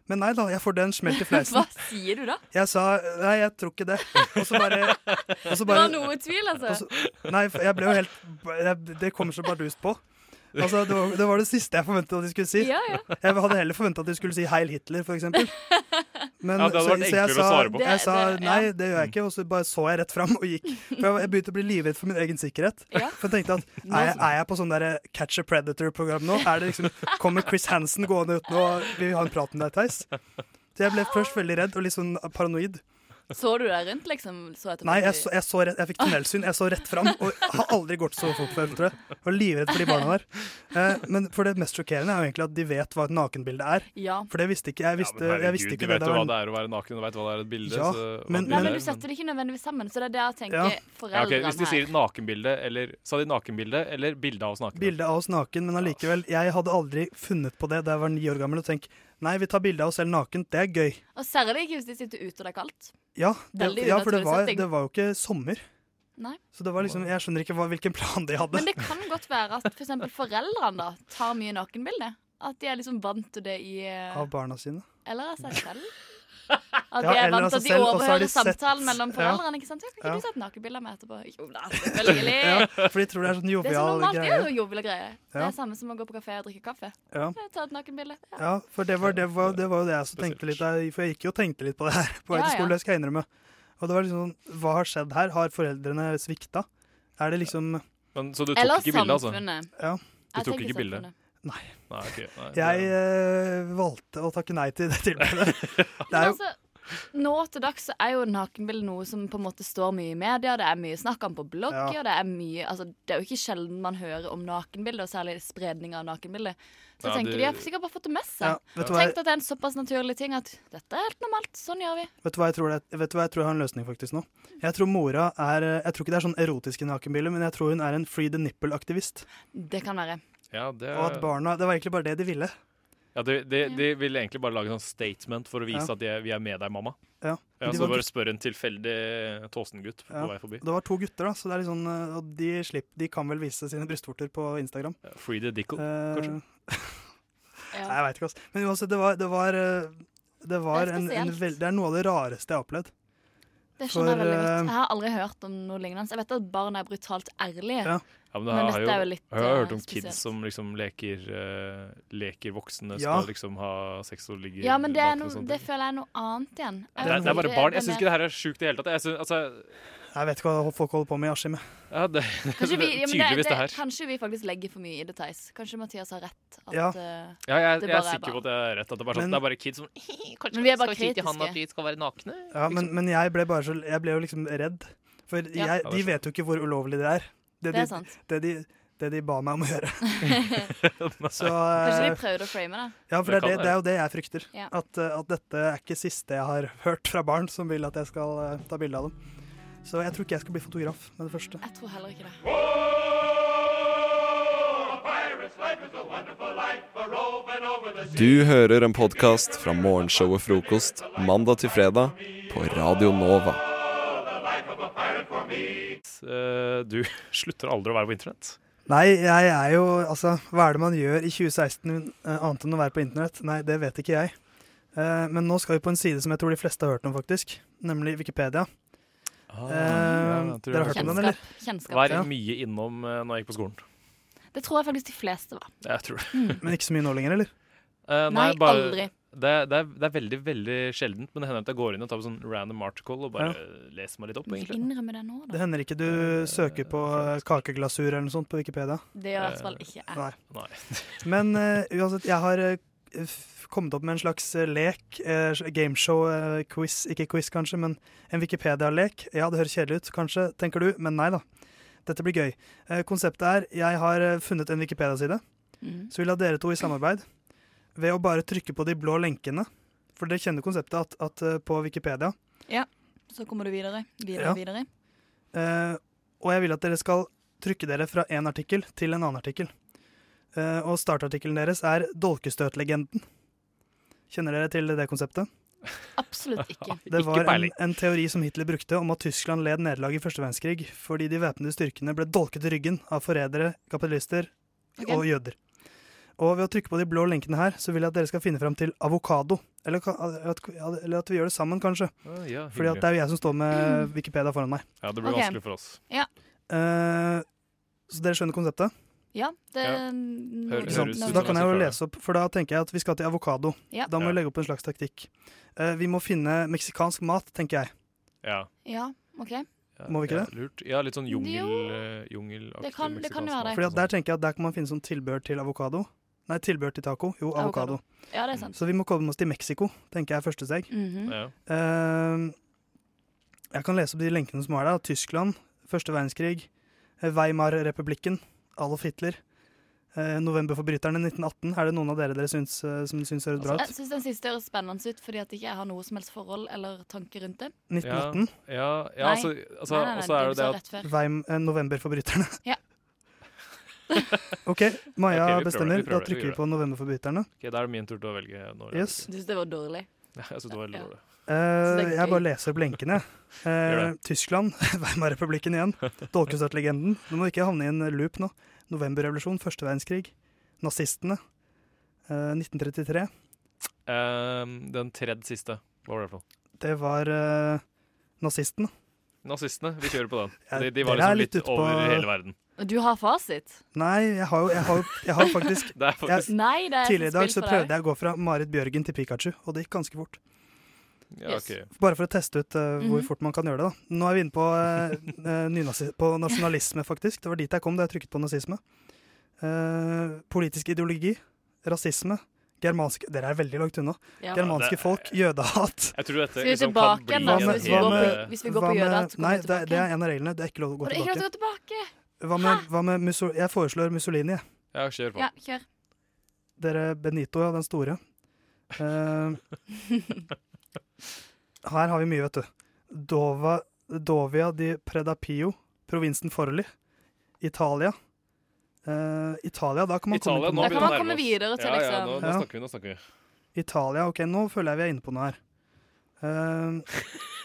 P: Men nei da, jeg får den smelt i fleisen.
O: Hva sier du da?
P: Jeg sa nei, jeg tror ikke det. Og så bare, og
O: Det
P: så
O: var
P: bare
O: noe tvil, altså.
P: Nei, for jeg ble jo helt jeg, Det kommer så bardust på. Altså, det, var, det var det siste jeg forventet at de skulle si.
O: Ja, ja.
P: Jeg hadde heller forventa at de skulle si 'Heil Hitler', for eksempel. Men,
N: Ja, det hadde
P: så-
N: vært
P: så jeg
N: enklere å
P: sa-
N: svare på.
P: Jeg sa
N: Det- det-
P: nei, det gjør jeg ikke, og så bare så jeg rett fram og gikk. For jeg, var- jeg begynte å bli livredd for min egen sikkerhet. For jeg tenkte at er jeg, er jeg på sånn der Catch a Predator-program nå? Er det liksom, Kommer Chris Hansen gående ut nå og vil vi ha en prat med deg, Theis? Så jeg ble først veldig redd og litt sånn paranoid.
O: Så du deg rundt, liksom? Så etterpå?
P: Nei, jeg, så, jeg, så rett, jeg fikk tunnelsyn. Jeg så rett fram og har aldri gått så fort før. tror jeg. Jeg var livredd for de barna der. Eh, men for det mest sjokkerende er jo egentlig at de vet hva et nakenbilde er.
O: Ja.
P: For det visste ikke jeg.
N: Ja,
P: visste,
N: men herregud,
P: jeg visste
N: de
P: ikke det.
N: vet
P: det
N: jo hva
P: var en-
N: det er å være naken, og vet hva det er et bilde.
P: Ja,
N: så,
P: men-
O: Nei, men du setter det ikke nødvendigvis sammen, så det er det jeg tenker.
N: liksom, ja, ok,
O: Foreldrene
N: Hvis de sier
O: her.
N: nakenbilde, eller sa de nakenbilde eller bilde av oss nakne?
P: Bilde av oss naken, men allikevel, jeg hadde aldri funnet på det da jeg var ni år gammel. Og tenk, nei, vi tar bilde av oss selv naken, det er gøy.
O: Og særlig ikke hvis de sitter ute og det er kaldt.
P: Ja, det,
O: Veldig
P: ja for det
O: unaturlig
P: var,
O: setting.
P: det var jo ikke sommer.
O: Nei.
P: Så det var liksom, jeg skjønner ikke hva, hvilken plan de hadde.
O: Men det kan godt være at f.eks. foreldrene da tar mye nakenbilder. At de er liksom vant til det i eh,
P: Av barna sine.
O: Eller av seg selv. At
P: Ja,
O: de er
P: eller av
O: vant til at
P: seg
O: de
P: selv, og så har
O: overhører
P: de sett-
O: samtalen mellom
P: Ja.
O: foreldrene. ikke sant? Ja, Kan ikke
P: Ja.
O: du sette nakenbilder med etterpå? Jo da, selvfølgelig.
P: ja, for de tror det er sånn
O: Det er så
P: jovial
O: normalt. Det er
P: greie.
O: jo jovial greie. Det
P: Ja.
O: er samme som å gå på kafé og drikke kaffe.
P: Ja.
O: Eh, Ta et nakenbilde. Ja.
P: Ja, for det var, det var, det var jo det jeg også tenkte litt av, for jeg gikk jo og tenkte litt på det her på vei
O: Ja,
P: til
O: ja.
P: skole, det skal jeg innrømme. Og det var liksom sånn, hva har skjedd her? Har foreldrene svikta? Er det liksom
N: Men, så du tok
O: Eller
N: ikke bilde, altså?
O: samfunnet.
P: Ja.
N: Du
O: Jeg
N: tok
O: tenker
N: ikke bilde?
O: samfunnet.
P: Nei.
N: Nei, ok, nei, det-
P: Jeg eh, valgte å takke nei til det tilbudet. Det
O: Men
P: er jo
O: altså, nå til dags så er jo nakenbilde noe som på en måte står mye i media. Det er mye snakk om på blogger.
P: Ja.
O: Det, er mye, altså, det er jo ikke sjelden man hører om nakenbilder, og særlig spredning av nakenbilder. Så
P: Ja,
O: jeg tenker
P: det-
O: de har sikkert bare fått det med
P: Ja,
O: seg.
P: vet du hva jeg-
O: Tenkt at det er en såpass naturlig ting at dette er helt normalt. Sånn gjør vi.
P: Vet du hva jeg tror, det, vet du hva jeg, tror jeg har en løsning faktisk nå? Jeg tror mora er Jeg tror ikke det er sånn erotiske nakenbilder, men jeg tror hun er en free the nipple-aktivist.
O: Det kan være.
N: Ja, det,
P: Og at barna Det var egentlig bare det de ville.
N: ja, de, de, de ville egentlig bare lage en sånn statement for å vise
P: Ja.
N: at de er, vi er med deg, mamma.
P: Ja.
N: Ja,
P: De
N: så
P: var-
N: bare spør en tilfeldig eh, Tåsen-gutt på
P: Ja.
N: vei forbi.
P: Det var to gutter, da, så det er litt sånn eh, Og de, slipp, de kan vel vise sine brystvorter på Instagram.
N: Free the dickle,
P: Eh,
N: kanskje?
P: Nei, jeg veit ikke, altså. Men uansett, det var Det, var, eh, det, var
O: Det er
P: en, en
O: spesielt.
P: vel- det er noe av det rareste jeg har opplevd.
O: Det
P: For,
O: skjønner jeg veldig
P: eh,
O: godt. Jeg har aldri hørt om noe lignende. Jeg vet at barn er brutalt ærlige,
P: Ja.
N: Ja, men,
O: men,
N: jeg,
O: dette
N: har
O: er
N: jo,
O: jo litt
N: jeg har
O: eh,
N: hørt om
O: spesielt.
N: kids som liksom leker, eh, leker voksne,
P: Ja.
N: skal liksom ha sex og ligge
O: Ja, men det, er
N: nakne og
O: noe-
N: sånt.
O: det føler jeg er noe annet igjen.
N: det, er, det er bare barn. Jeg syns ikke det her er sjukt i det hele tatt. Jeg synes, altså,
P: Jeg vet ikke hva folk holder på med i Askim.
N: ja, det,
O: Kanskje vi, ja, men det,
N: tydeligvis det,
O: det,
N: her.
O: kanskje vi faktisk legger for mye i det, Theis. Kanskje Mathias har rett. At
P: Ja.
O: eh,
N: Ja, jeg,
O: det
N: jeg er
O: bare
N: sikker på at jeg er rett. At det, bare,
P: Men-
N: sånn, det er bare kids som
O: Men vi er bare
E: Skal vi si til han
O: kritiske.
E: at vi skal være nakne?
P: Ja, men, men jeg ble bare så Jeg ble jo liksom redd. For
E: Ja.
P: jeg,
E: Ja, det
P: de
E: skjønner
P: vet jo ikke hvor ulovlig det er.
O: Det er
P: de,
O: sant.
P: Det de, det de ba meg om å gjøre. Så,
O: Kanskje
P: eh,
O: de prøvde å frame det?
P: Ja, for det, er det, det er jo det jeg frykter.
O: Ja.
P: At, eh, at dette er ikke siste jeg har hørt fra barn som vil at jeg skal eh, ta bilde av dem. Så jeg tror ikke jeg skal bli fotograf med det første.
O: Jeg tror heller ikke det.
A: Du hører en podkast fra morgenshow og frokost mandag til fredag på Radio Nova.
N: Eh, Du slutter aldri å være på internett.
P: Nei, jeg er jo Altså, hva er det man gjør i 2016 eh, annet enn å være på internett? Nei, det vet ikke jeg. Eh, men nå skal vi på en side som jeg tror de fleste har hørt om, faktisk. Nemlig Wikipedia.
N: Ah,
P: Eh,
N: ja, jeg tror
P: dere har
N: jeg
P: hørt om den,
O: Kjennskap.
P: eller?
O: Kjennskap.
N: Var
P: Ja.
N: mye innom eh, når jeg gikk på skolen.
O: Det tror jeg faktisk de fleste var.
N: Jeg tror det.
P: Men ikke så mye nå lenger, eller?
N: Eh,
O: Nei,
N: bare-
O: aldri.
N: Det, er- det, er, det er veldig veldig sjeldent, men det hender at jeg går inn og tar på sånn random article og bare leser meg litt opp. egentlig.
O: Innrømmer det nå, da.
P: Det hender ikke du søker på eh, kakeglasur eller noe sånt på Wikipedia.
O: Det gjør i hvert fall ikke jeg.
N: Nei.
P: Men eh, uansett, jeg har eh, f- kommet opp med en slags eh, lek, eh, gameshow, eh, quiz, ikke quiz kanskje, men en Wikipedia-lek. Ja, det høres kjedelig ut, kanskje, tenker du, men nei da. Dette blir gøy. Eh, konseptet er, jeg har eh, funnet en Wikipedia-side,
E: Mm.
O: Mhm.
P: så vil jeg ha dere to i samarbeid, ved å bare trykke på de blå lenkene, for dere kjenner konseptet at, at eh, på Wikipedia,
O: Ja, så kommer du videre. Videre,
P: Ja.
O: videre.
P: Eh, og jeg vil at dere skal trykke dere fra én artikkel til en annen artikkel. Eh, og startartikkelen deres er 'Dolkestøtlegenden'. Kjenner dere til det konseptet?
O: Absolutt ikke.
P: Det var en, en teori som Hitler brukte om at Tyskland led nederlag i første verdenskrig fordi de væpnede styrkene ble dolket i ryggen av forrædere, kapitalister
O: Ok.
P: og jøder. Og ved å trykke på de blå lenkene her, så vil jeg at dere skal finne fram til avokado. Eller, ka- at, eller at vi gjør det sammen, kanskje.
N: Ah, ja,
P: Fordi at det er jo jeg som står med Wikipedia foran meg.
N: Ja, det blir
O: Ok.
N: vanskelig for oss.
O: Ja.
P: Eh, så dere skjønner konseptet?
O: ja det
N: Ja.
O: Mm. nå-
N: Hø-
P: Ikke sant?
N: høres
P: Så
N: ut
P: da
N: som
P: kan
N: jeg
P: jeg jo
N: skal klare
P: lese opp, for da tenker jeg at vi skal til avokado.
O: Ja.
P: Da må
O: Ja.
P: vi legge opp en slags taktikk. Eh, vi må finne meksikansk mat, tenker jeg.
N: Ja.
O: Ja, OK.
P: Må vi ikke
N: ja,
P: det?
N: Lurt. Ja, litt sånn jungel,
O: Jo.
N: eh, jungelaktig
O: Det kan- det kan jo
N: meksikansk
O: være det.
N: mat.
P: Fordi at der tenker jeg at der kan man finne sånn tilbehør til avokado. Nei, tilbehør til taco. Jo, avokado.
O: Ja, det er sant.
P: Så vi må komme oss til Mexico, tenker jeg er første steg.
O: Mhm.
P: Eh, jeg kan lese opp de lenkene som er der. Tyskland, første verdenskrig, eh, Weimar-republikken, Adolf Hitler. eh, Novemberforbryterne 1918. Er det noen av dere dere syns, eh, som syns høres bra ut?
O: Altså, Jeg syns den siste høres spennende ut, fordi at ikke jeg har noe som helst forhold eller tanke rundt det.
P: 1918?
N: Ja,
O: Nei.
N: ja altså, altså,
O: Nei, nei, nei,
N: også er
O: det
N: det det
O: du sa
N: at
O: rett før.
P: Weim, eh, novemberforbryterne.
O: Ja.
P: OK,
N: Ok, vi
P: Maja
N: prøver det, vi
P: bestemmer.
N: prøver
P: Da
N: det, vi
P: trykker
N: gjør
P: vi på novemberforbryterne.
N: Ok, Da er det min tur til å velge. Når
P: Yes.
O: Du syns det var dårlig?
N: Ja, jeg synes det var veldig dårlig.
P: Eh,
O: det er
P: jeg
O: gøy.
P: bare leser opp lenkene. jeg. Eh,
N: Gjør
P: Tyskland, Weimar-republikken igjen. Dolkestøtlegenden. Du må ikke havne i en loop nå. Novemberrevolusjon, første verdenskrig. Nazistene. Eh, 1933.
N: Ehm, den tredje siste. Hva var det for noe?
P: Det var eh, nazistene.
N: Nazistene. Vi kjører på den.
P: Ja,
N: De, de var
P: dere er
N: liksom litt,
P: litt ute på-
N: over hele verden.
O: Du har fasit?
P: Nei, jeg har jo jeg har, jo- jeg har jo faktisk,
N: Det er faktisk-
P: jeg,
O: Nei, det er
P: Tidligere i dag
O: spill
P: så
O: for
P: prøvde
O: deg.
P: jeg å gå fra Marit Bjørgen til Pikachu, og det gikk ganske fort.
N: Ja, ok.
P: Bare for å teste ut eh, hvor
O: Mhm.
P: fort man kan gjøre det. da. Nå er vi inne på, eh, eh, nynazi- på nasjonalisme, faktisk. Det var dit jeg kom da jeg trykket på nazisme. Eh, politisk ideologi, rasisme, germansk Dere er veldig langt unna.
O: Ja.
P: Germanske
N: Det er-
P: folk, jødehat.
N: Jeg tror dette
O: Skal vi
N: liksom
O: tilbake
N: kan bli
O: igjen, da?
N: en
O: Hvis vi går
N: hel-
O: på- hvis vi går på
P: hva med-
O: jødehat, så kommer
P: Nei,
O: vi
P: det, er-
O: tilbake
P: det er en av reglene. Det er ikke lov å gå
O: Har du ikke lov til å
P: tilbake.
O: gå tilbake?
P: Hva med, hva med Mussol Jeg foreslår Mussolini. jeg.
N: Ja, kjør på.
O: Ja, kjør.
P: Dere Benito, ja, den store. Eh, her har vi mye, vet du. Dova, Dovia di Predapio, provinsen Forli, Italia. Eh, Italia, da kan man
N: Italia, nå
P: komme
N: begynner
P: inn på noe.
N: vi å
O: komme
N: nærme oss.
O: videre til,
N: ja, ja,
O: liksom.
N: nå, nå
P: Ja.
N: snakker vi, nå snakker vi.
P: Italia, ok, nå føler jeg vi er inne på noe her.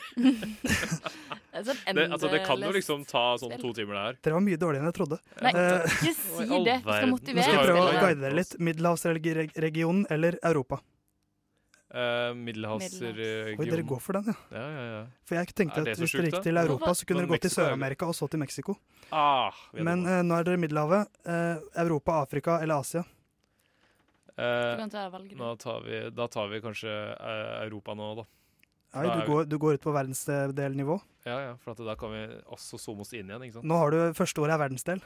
P: Eh,
O: Det, er sånn
N: Det, altså, det kan jo
O: endeløst
N: liksom ta sånn
O: spill.
N: to timer, det her.
P: dere var mye dårligere enn jeg trodde.
O: Nei,
P: Eh,
O: ikke si det. Du skal
P: Nå
O: motivere
P: skal jeg prøve å
O: spillerne.
P: guide dere litt. Middelhavsregionen eller Europa?
N: Uh, Middelhavsregionen.
P: Oi, dere går for den, ja.
N: Ja, ja, ja.
P: For jeg tenkte
N: Er det
P: at
N: så
P: hvis dere
N: sjukt,
P: gikk
N: da?
P: til Europa, så kunne
N: Men
P: dere gått til
N: Mexico er jo-
P: Sør-Amerika og så til Mexico.
N: Ah, vi hadde
P: Men
N: gått.
P: eh, nå er dere i Middelhavet. eh, Europa, Afrika eller Asia.
N: Eh,
O: Du kan ta valget, du.
N: nå tar vi, da tar vi kanskje eh, Europa nå, da.
P: Nei,
N: Da
P: du
N: er vi-
P: går, du går ut på verdensdelnivå.
N: Ja, ja, for at da kan vi også zoome oss inn igjen, ikke sant?
P: Nå har du første ordet er verdensdel.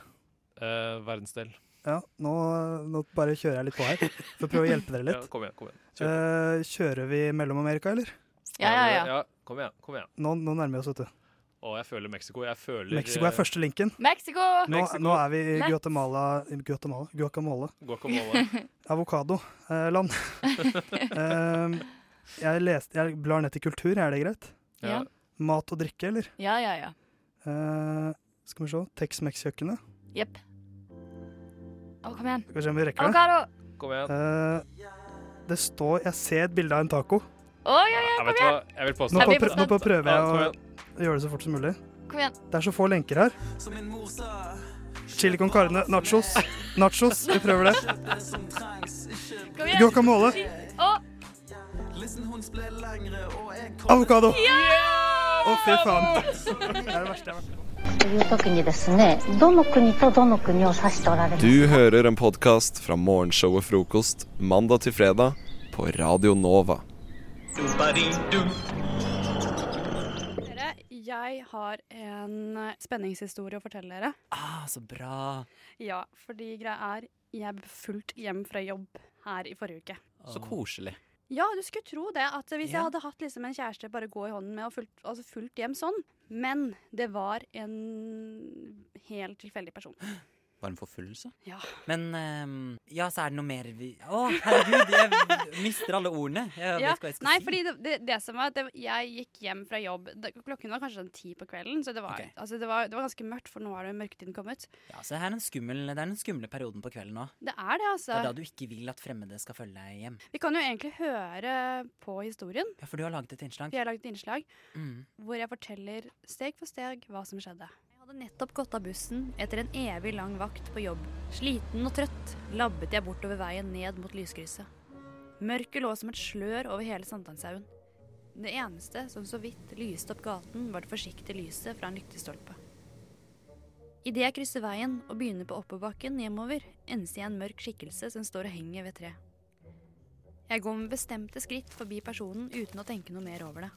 N: Eh, verdensdel.
P: Ja, nå, nå bare kjører jeg litt på her for å prøve å hjelpe dere litt.
N: Ja, kom igjen, kom igjen.
P: Eh, kjører vi mellom Amerika, eller?
O: Ja, ja, ja.
N: Kom igjen, kom igjen.
P: Nå, nå nærmer vi oss, vet du.
N: Å, jeg føler Mexico. Jeg føler eh,
P: Mexico er første linken.
O: Mexico!
P: Nå,
O: Mexico.
P: nå er vi i
O: Mex-
P: Guatemala, Guatemala Guacamole.
N: Guacamole.
P: Avokado-land. Ehm, jeg, leste- jeg blar ned til kultur, er det greit?
O: Ja.
P: Mat og drikke, eller?
O: Ja, ja, ja.
P: Eh, skal vi se. Tex-Mex-kjøkkenet.
O: Jepp. Å, kom igjen.
P: Skal vi se om vi rekker det.
O: Avokado!
N: Kom igjen.
P: Eh, det står Jeg ser et bilde av en taco.
O: Å, ja, ja,
N: Jeg
O: kom
N: vet hva,
O: igjen!
N: jeg vil
P: Nå,
N: påstå
P: på, prø- nå på prøver
N: Ja, kom
P: jeg
N: igjen.
P: å gjøre det så fort som mulig.
O: Kom igjen.
P: Det er så få lenker her. Chili con carne, nachos. Nachos, vi prøver det.
O: Kom igjen.
P: Guacamole.
O: Å,
P: Avokado.
O: ja!
P: Å, fy faen. Det er det verste jeg har vært
F: という時にですねどの国とどの国を指しておられますか
A: Du hører en podkast fra morgenshowet Frokost mandag til fredag på Radio Nova.
R: Dere, jeg har en eh, spenningshistorie å fortelle dere.
S: Ah, så bra.
R: Ja, fordi greia er jeg ble fullt hjem fra jobb her i forrige uke.
T: Ah.
S: Så koselig.
R: Ja, du skulle tro det. At hvis
S: Ja.
R: jeg hadde hatt liksom en kjæreste bare gå i hånden med og fulgt, altså fulgt hjem sånn. Men det var en helt tilfeldig person.
S: Var det en forfølgelse?
R: Ja.
S: Men ehm, ja, så er det noe mer vi Å, herregud, jeg mister alle ordene.
R: Ja,
S: Jeg vet ikke hva jeg skal
R: Nei,
S: si.
R: fordi det, det, det som var at det, Jeg gikk hjem fra jobb det, Klokken var kanskje sånn ti på kvelden, så det var,
S: Ok.
R: altså, det, var, det var ganske mørkt, for nå er det mørketiden kommet.
S: Ja, så her er den skummel, det er den skumle perioden på kvelden nå.
R: Det er det,
S: Det
R: altså.
S: er da du ikke vil at fremmede skal følge deg hjem.
R: Vi kan jo egentlig høre på historien.
S: Ja, for du har laget et innslag.
R: Vi har laget et innslag
S: Mm.
R: hvor jeg forteller steg for steg hva som skjedde.
E: Jeg hadde nettopp gått av bussen etter en evig lang vakt på jobb. Sliten og trøtt labbet jeg bortover veien ned mot lyskrysset. Mørket lå som et slør over hele Sankthanshaugen. Det eneste som så vidt lyste opp gaten, var det forsiktige lyset fra en lyktestolpe. Idet jeg krysser veien og begynner på oppoverbakken hjemover, enser jeg en mørk skikkelse som står og henger ved et tre. Jeg går med bestemte skritt forbi personen uten å tenke noe mer over det.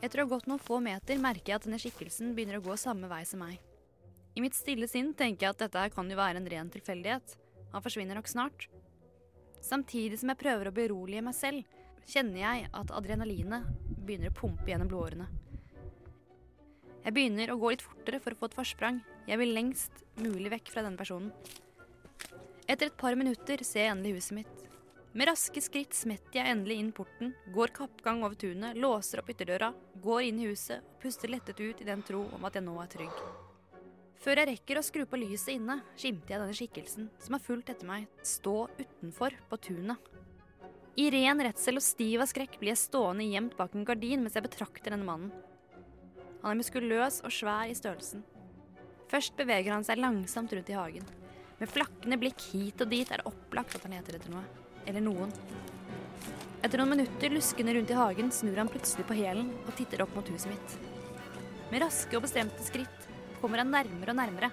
E: Etter å ha gått noen få meter merker jeg at denne skikkelsen begynner å gå samme vei som meg. I mitt stille sinn tenker jeg at dette her kan jo være en ren tilfeldighet. Han forsvinner nok snart. Samtidig som jeg prøver å berolige meg selv, kjenner jeg at adrenalinet begynner å pumpe gjennom blodårene. Jeg begynner å gå litt fortere for å få et forsprang. Jeg vil lengst mulig vekk fra denne personen. Etter et par minutter ser jeg endelig huset mitt. Med raske skritt smetter jeg endelig inn porten, går kappgang over tunet, låser opp ytterdøra, går inn i huset og puster lettet ut i den tro om at jeg nå er trygg. Før jeg rekker å skru på lyset inne, skimter jeg denne skikkelsen, som har fulgt etter meg, stå utenfor på tunet. I ren redsel og stiv av skrekk blir jeg stående gjemt bak en gardin mens jeg betrakter denne mannen. Han er muskuløs og svær i størrelsen. Først beveger han seg langsomt rundt i hagen. Med flakkende blikk hit og dit er det opplagt at han leter etter noe. Eller noen. Etter noen minutter luskende rundt i hagen snur han plutselig på hælen og titter opp mot huset mitt. Med raske og bestemte skritt kommer han nærmere og nærmere.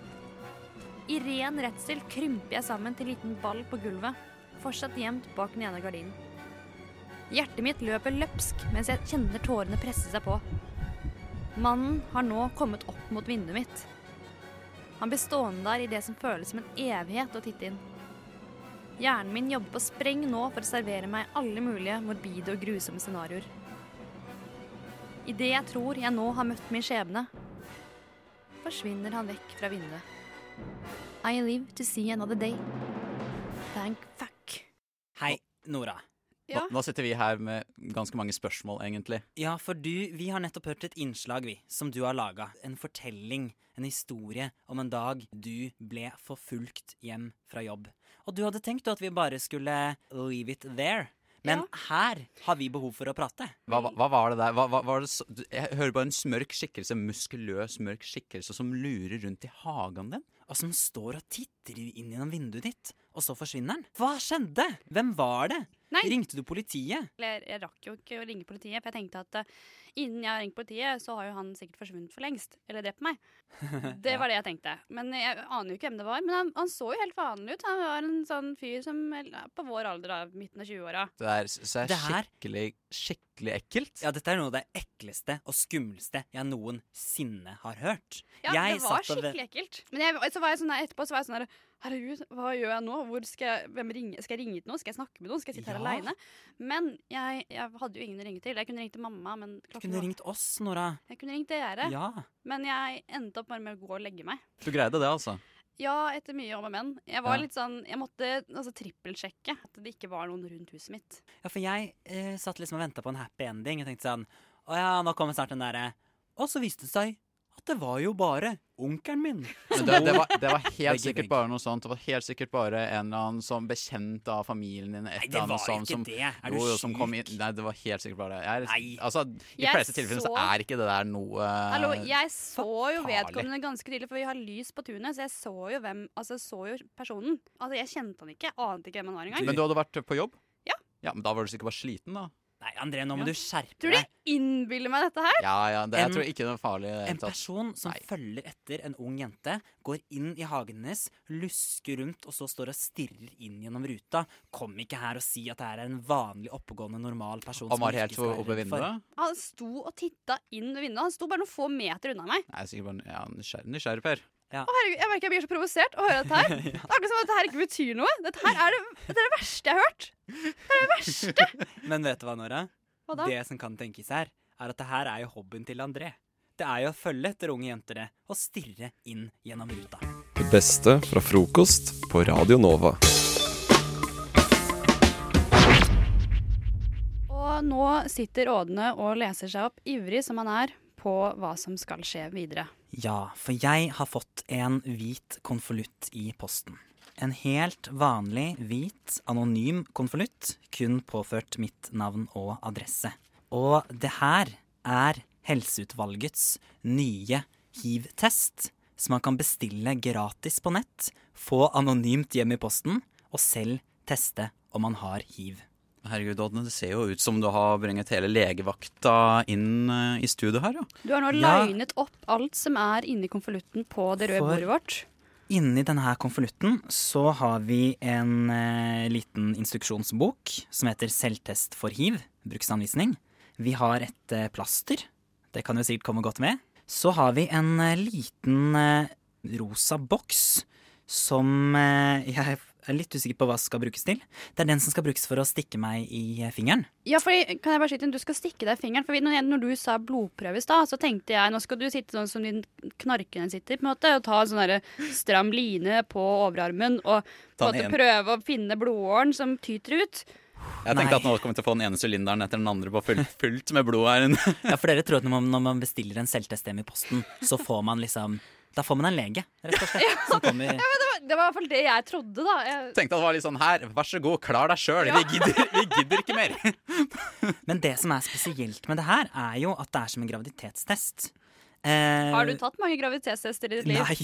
E: I ren redsel krymper jeg sammen til en liten ball på gulvet, fortsatt gjemt bak den ene gardinen. Hjertet mitt løper løpsk mens jeg kjenner tårene presse seg på. Mannen har nå kommet opp mot vinduet mitt. Han blir stående der i det som føles som en evighet å titte inn. Hjernen min jobber på spreng nå for å servere meg alle mulige morbide og grusomme scenarioer. Idet jeg tror jeg nå har møtt min skjebne, forsvinner han vekk fra vinduet. I live to see another day. Thank fuck.
S: Hei, Nora.
E: Ja.
S: Nå sitter vi her med ganske mange spørsmål, egentlig. Ja, for du, vi har nettopp hørt et innslag, vi, som du har laga. En fortelling, en historie om en dag du ble forfulgt hjem fra jobb. Og du hadde tenkt at vi bare skulle leave it there. Men her har vi behov for å prate.
T: Hva, hva- hva var det der? Hva, hva, var det så, du- jeg hører bare en smørk skikkelse, muskuløs mørk skikkelse som lurer rundt i hagen din.
S: Og som står og titter inn gjennom vinduet ditt, og så forsvinner den. Hva skjedde? Hvem var det?
R: Nei.
S: Ringte du politiet?
R: Eller jeg rakk jo ikke å ringe politiet, for jeg tenkte at eh, innen jeg har ringt politiet, så har jo han sikkert forsvunnet for lengst. Eller drept meg. Det var det jeg tenkte. Men jeg aner jo ikke hvem det var. Men han, han så jo helt vanlig ut. Han var en sånn fyr som er på vår alder, da. Midten av 20-åra.
T: Det er, så er
S: Det her-
T: skikkelig, skikkelig ekkelt.
S: Ja, dette er noe av det ekleste og skumleste jeg noensinne har hørt.
R: Ja,
S: jeg
R: det var
S: satt og ve-
R: skikkelig ekkelt. Men jeg, så var jeg sånn der, etterpå så var jeg sånn der
E: Herregud, hva gjør jeg nå? Hvor skal, jeg, hvem ringe, skal jeg ringe til noen? Skal jeg snakke med noen? Skal jeg sitte her
S: Ja.
E: alene? Men jeg, jeg hadde jo ingen å ringe til. Jeg kunne ringt til mamma, men
S: Du
E: klokken
S: kunne
E: var-
S: ringt oss, Nora.
E: Jeg kunne ringt dere.
T: Ja.
E: Men jeg endte opp bare med å gå og legge meg.
T: Du greide det, altså?
E: Ja, etter mye om og men. Jeg var
T: Ja.
E: litt sånn, jeg måtte altså, trippelsjekke at det ikke var noen rundt huset mitt.
S: Ja, for jeg eh, satt liksom og venta på en happy ending. Jeg tenkte sånn Å ja, nå kommer snart den derre Og så viste det seg at det var jo bare onkelen min.
T: Men det, det, var, det var
S: Begge
T: helt sikkert
S: vegg.
T: bare noe sånt. Det var helt sikkert bare en eller annen som bekjent av familien din. Et
S: Nei, det
T: eller annet
S: var
T: som,
S: ikke
T: som,
S: det. Er du
T: jo, jo, som kom inn. Nei, det var helt sikkert bare jeg, er- Altså, I
E: Jeg
T: fleste tilfeller så
E: så-
T: er ikke det der noe
E: Hallo, jeg så jo
T: farlig.
E: vedkommende ganske tidlig, for vi har lys på tunet, så jeg så jo hvem, altså jeg så jo personen. Altså jeg kjente han ikke, ante ikke hvem han var engang.
T: Men du hadde vært på jobb? Ja. Men da var du sikkert bare sliten, da.
S: Nei, André, nå må
E: Ja.
S: du skjerpe
E: Tror du de innbiller meg dette her?
T: Ja, ja, det, jeg
S: En-
T: tror ikke det er farlig. i det hele
S: En
T: tatt.
S: person som følger etter en ung jente, går inn i hagen hennes, lusker rundt og så står og stirrer inn gjennom ruta. Kom ikke her og si at det her er en vanlig, oppegående, normal person.
T: Han
S: som
T: var
S: du
T: helt
S: ikke skal
T: oppe
S: være
T: ved
S: redd for.
T: vinduet?
E: Han sto og titta inn ved vinduet, han sto bare noen få meter unna meg.
T: Jeg er sikkert bare ja, nysgjerrig, nysgjerrig, Per.
E: Å herregud, jeg merker jeg blir så provosert å høre dette her. Det er akkurat som at dette her ikke betyr noe. Dette her er det, det, er det verste jeg har hørt. Det er det verste.
S: Men vet du hva, Nora?
E: Hva da?
S: Det som kan tenkes her, er at det her er jo hobbyen til André. Det er jo å følge etter unge jenter det, og stirre inn gjennom ruta.
A: Det beste fra frokost på Radio Nova.
E: Og nå sitter Ådne og leser seg opp ivrig som han er på hva som skal skje videre.
S: Ja, for jeg har fått en hvit konvolutt i posten. En helt vanlig, hvit, anonym konvolutt, kun påført mitt navn og adresse. Og det her er helseutvalgets nye hiv-test, som man kan bestille gratis på nett, få anonymt hjem i posten, og selv teste om man har hiv.
T: Herregud, Odne, det ser jo ut som du har bringet hele legevakta inn eh, i studio her, ja.
E: Du har nå
T: Ja.
E: linet opp alt som er inni konvolutten på det røde
S: For-
E: bordet vårt.
S: Inni denne her konvolutten så har vi en eh, liten instruksjonsbok som heter Selvtest for hiv, bruksanvisning. Vi har et eh, plaster, det kan jo sikkert komme godt med. Så har vi en eh, liten eh, rosa boks som eh, jeg er litt usikker på hva skal brukes til. Det er den som skal brukes for å stikke meg i eh, fingeren.
E: Ja, fordi, kan jeg bare skyte inn, Du skal stikke deg i fingeren. For når, jeg, når du sa blodprøve i stad, så tenkte jeg nå skal du sitte sånn som din knarkende sitter, på en måte, og ta en sånn derre stram line på overarmen og på en
T: Ta
E: måte,
T: den
E: prøve å finne blodåren som tyter ut.
T: Jeg tenkte at nå kommer vi til å få den ene sylinderen etter den andre på full, fullt med blod her inne.
S: Ja, for dere tror at når man, når man bestiller en selvtest hjemme i posten, så får man liksom Da får man en lege, rett og slett, som kommer
E: Ja, men det, var, det var i hvert fall det jeg trodde, da. Jeg,
T: Tenkte at det var litt sånn her, vær så god, klar deg sjøl. Vi gidder
S: Men det som er spesielt med det her, er jo at det er som en graviditetstest. Eh,
E: har du tatt mange graviditetstester i ditt liv?
S: Nei.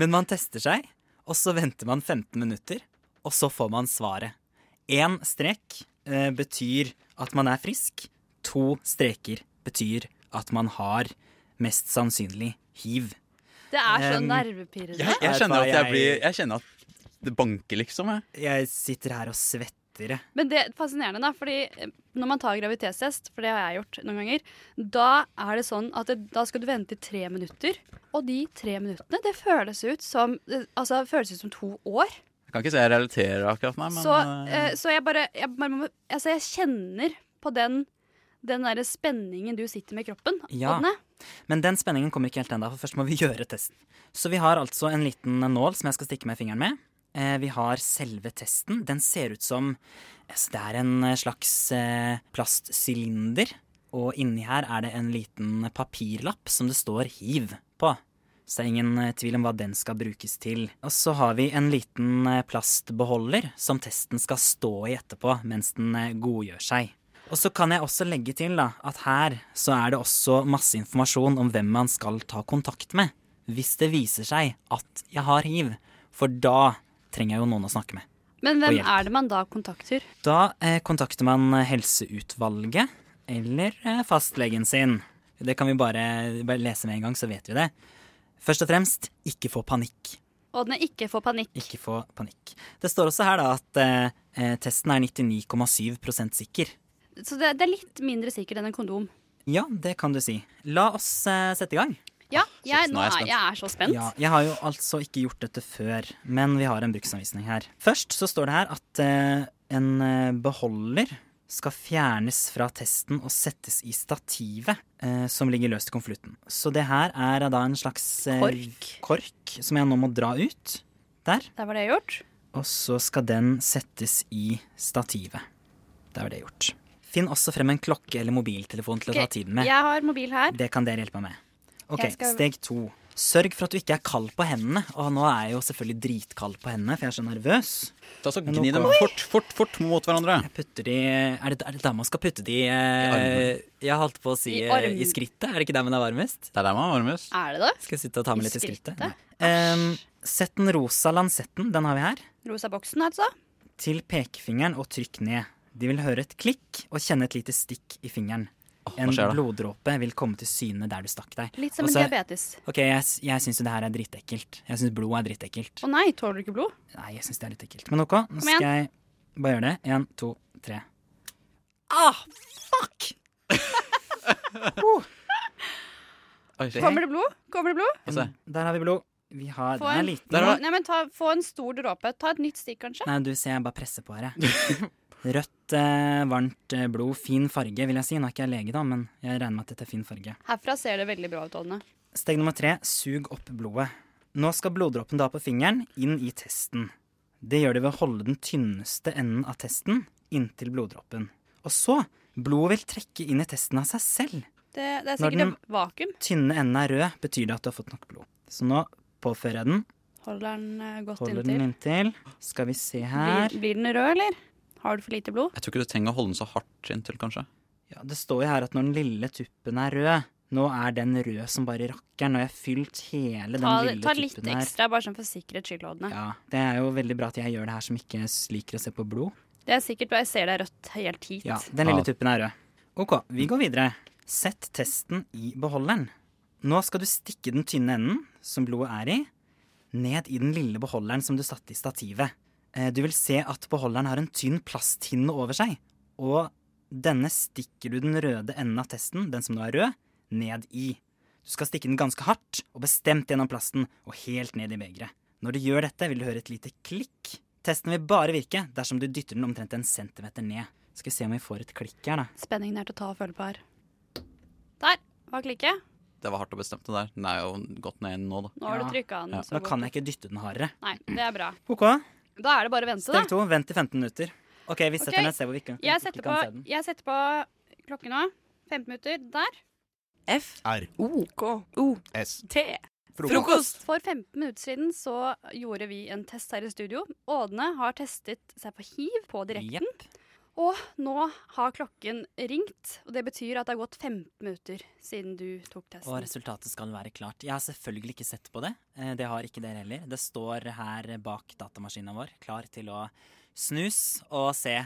S: Men man tester seg, og så venter man 15 minutter, og så får man svaret. Én strek eh, betyr at man er frisk. To streker betyr at man har mest sannsynlig hiv.
E: Det er så
S: Um,
E: nervepirrende.
S: jeg-
T: Jeg kjenner at jeg blir
S: Jeg-
T: Jeg kjenner at det banker, liksom. Jeg.
S: Jeg sitter her og svetter. jeg.
E: Men det er fascinerende, da, fordi eh, når man tar graviditetstest, for det har jeg gjort noen ganger, da er det sånn at det, da skal du vente i tre minutter. Og de tre minuttene, det føles ut som det- Altså, det føles ut som to år.
T: jeg kan ikke si jeg relaterer akkurat, nei, men
E: så,
T: eh,
E: eh, så jeg bare, jeg bare må, Altså, jeg kjenner på den, den derre spenningen du sitter med i kroppen.
S: Ja.
E: Ådne.
S: Men den spenningen kommer ikke helt ennå, for først må vi gjøre testen. Så vi har altså en liten nål som jeg skal stikke med fingeren med. Eh, Vi har selve testen. Den ser ut som altså, Det er en slags eh, plastsylinder. Og inni her er det en liten papirlapp som det står hiv på. Så det er ingen eh, tvil om hva den skal brukes til. Og så har vi en liten eh, plastbeholder som testen skal stå i etterpå mens den eh, godgjør seg. Og så kan jeg også legge til da, at her så er det også masse informasjon om hvem man skal ta kontakt med. Hvis det viser seg at jeg har hiv. For da trenger jeg jo noen å snakke med.
E: Men hvem
S: Og hjelp.
E: er det man da kontakter?
S: Da eh, kontakter man helseutvalget eller eh, fastlegen sin. Det kan vi bare, bare lese med en gang, så vet vi det. Først og fremst, ikke få panikk.
E: Ådne, ikke få panikk.
S: Ikke få panikk. Det står også her da at eh, eh, testen er 99,7 sikker.
E: Så det, det er litt mindre sikkert enn en kondom.
S: Ja, det kan du si. La oss eh, sette i gang.
E: Ja, jeg,
S: nå
E: nå
S: er
E: er,
S: jeg spent.
E: jeg er så spent.
S: Ja, jeg har jo altså ikke gjort dette før, men vi har en bruksanvisning her. Først så står det her at eh, en eh, beholder skal fjernes fra testen og settes i stativet eh, som ligger løst i konvolutten. Så det her er da en slags eh,
E: Kork.
S: kork som jeg nå må dra ut. Der.
E: Der var det gjort.
S: Og så skal den settes i stativet. Der var det gjort. Finn også frem en klokke eller mobiltelefon til å ta
E: Ok,
S: tiden med.
E: Jeg har mobil her.
S: Det kan dere hjelpe meg med. Ok,
E: Jeg skal-
S: Steg to. Sørg for at du ikke er kald på hendene. Og nå er jeg jo selvfølgelig dritkald på hendene, for jeg er så nervøs.
T: Da så
S: Men
T: gni
S: nå
T: dem
S: går-
T: fort, fort, fort mot hverandre.
S: Jeg putter de Er det, er det der man skal putte de eh,
T: armen.
S: Jeg holdt på å si
E: I
S: eh,
E: armen.
S: i skrittet. Er det ikke der man er varmest? Det er der man er varmest.
E: Er det det?
S: Skal jeg sitte og ta med
E: I
S: litt i skrittet?
E: skrittet?
S: Em, sett den rosa lansetten, den har vi her,
E: Rosa boksen, altså.
S: til pekefingeren og trykk ned. De vil høre et klikk og kjenne et lite stikk i fingeren. En
T: skjer da?
S: bloddråpe vil komme til syne der du stakk deg.
E: Litt som en
S: Og så-
E: diabetes.
S: Ok, jeg, s- jeg syns jo det her er dritekkelt. Jeg syns blod er dritekkelt.
E: Å nei, tåler du ikke blod?
S: Nei, jeg syns det er litt ekkelt. Men ok, nå
E: Kom
S: skal
E: igjen.
S: jeg bare gjøre det. Én, to, tre.
E: Ah,
S: Oi,
E: Kommer det blod? Kommer det blod?
S: Der har vi blod. Vi har
E: Få
S: Altså, Den er
E: en,
S: liten.
E: Nei, men ta, få en stor dråpe. Ta et nytt stikk, kanskje.
S: Nei, du ser jeg bare presser på her, jeg. Rødt, eh, varmt eh, blod, fin farge, vil jeg si. Nå er ikke jeg lege, da, men jeg regner med at dette er fin farge.
E: Herfra ser det veldig bra ut, Ålne.
S: Steg nummer tre sug opp blodet. Nå skal bloddråpen da på fingeren inn i testen. Det gjør det ved å holde den tynneste enden av testen inntil bloddråpen. Og så blodet vil trekke inn i testen av seg selv.
E: Det, det er
S: Når
E: sikkert
S: den-
E: et vakuum.
S: Tynne enden er rød, betyr det at du har fått nok blod. Så nå påfører jeg den.
E: Holder den eh, godt
S: Holder
E: inntil.
S: den inntil. Skal vi se her
E: Blir, blir den rød, eller? Har du for lite blod?
T: Jeg tror ikke du trenger å holde den så hardt inntil, kanskje.
S: Ja, det står jo her at når den lille tuppen er rød Nå er den rød som bare rakkeren, og jeg har fylt hele
E: Ta,
S: den lille
E: ta litt
S: tuppen her.
E: ekstra, bare sånn for sikkerhets skyld, Ålne.
S: Det er jo veldig bra at jeg gjør det her som ikke s- liker å se på blod.
E: Det er sikkert bra. Jeg ser det er rødt helt hit.
S: Ja, Den lille tuppen er rød. OK, vi går videre. Sett testen i beholderen. Nå skal du stikke den tynne enden, som blodet er i, ned i den lille beholderen som du satte i stativet. Eh, Du vil se at beholderen har en tynn plasthinne over seg, og denne stikker du den røde enden av testen, den som nå er rød, ned i. Du skal stikke den ganske hardt og bestemt gjennom plasten og helt ned i begeret. Når du gjør dette, vil du høre et lite klikk. Testen vil bare virke dersom du dytter den omtrent en centimeter ned. Skal vi se om vi får et klikk her, da.
E: Spenningen er til å ta og føle på her. Der var klikket.
T: Det var hardt å bestemme det der. Den er jo godt ned nå, da.
E: Nå har du trykket den, så
S: Da
E: godt.
S: kan jeg ikke dytte den hardere.
E: Nei, det er bra.
S: OK.
E: Da er det bare å vente,
S: Steg
E: da.
S: to. Vent i 15 minutter. OK, vi setter
E: Ok,
S: den et sted hvor vi ikke,
E: Jeg
S: ikke
E: setter,
S: kan se
E: på,
S: den.
E: jeg setter på klokken nå. 15 minutter. Der.
C: F.
U: R.
C: O. K. O. S.
E: Te.
C: Frokost. Frokost.
E: For 15 minutter siden så gjorde vi en test her i studio. Ådne har testet seg for hiv på direkten. Og nå har klokken ringt, og det betyr at det har gått 15 minutter siden du tok
U: Og
E: testen.
U: resultatet skal være klart. Jeg har selvfølgelig ikke sett på det. Eh, Det har ikke dere heller. Det står her bak datamaskinen vår, klar til å snus og se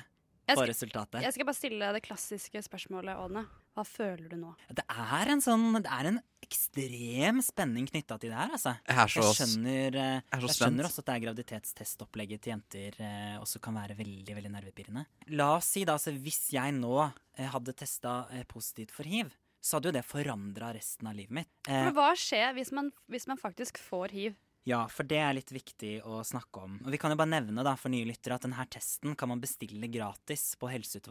U: på
E: skal-
U: resultatet.
E: Jeg skal bare stille deg det klassiske spørsmålet, Ådne. Hva føler du nå?
U: Det er en sånn Det er en ekstrem spenning knytta til det her, altså.
T: Jeg er så-
U: skjønner, eh,
T: jeg er så
U: jeg
T: spent.
U: skjønner også at det er graviditetstestopplegget til jenter eh, også kan være veldig veldig nervepirrende. La oss si, da, altså, hvis jeg nå eh, hadde testa eh, positivt for hiv, så hadde jo det forandra resten av livet mitt. Eh,
E: For hva skjer hvis man, hvis man faktisk får hiv?
U: ja, for det er litt viktig å snakke om. Og vi kan jo bare nevne da, for nye lyttere at denne testen kan man bestille gratis på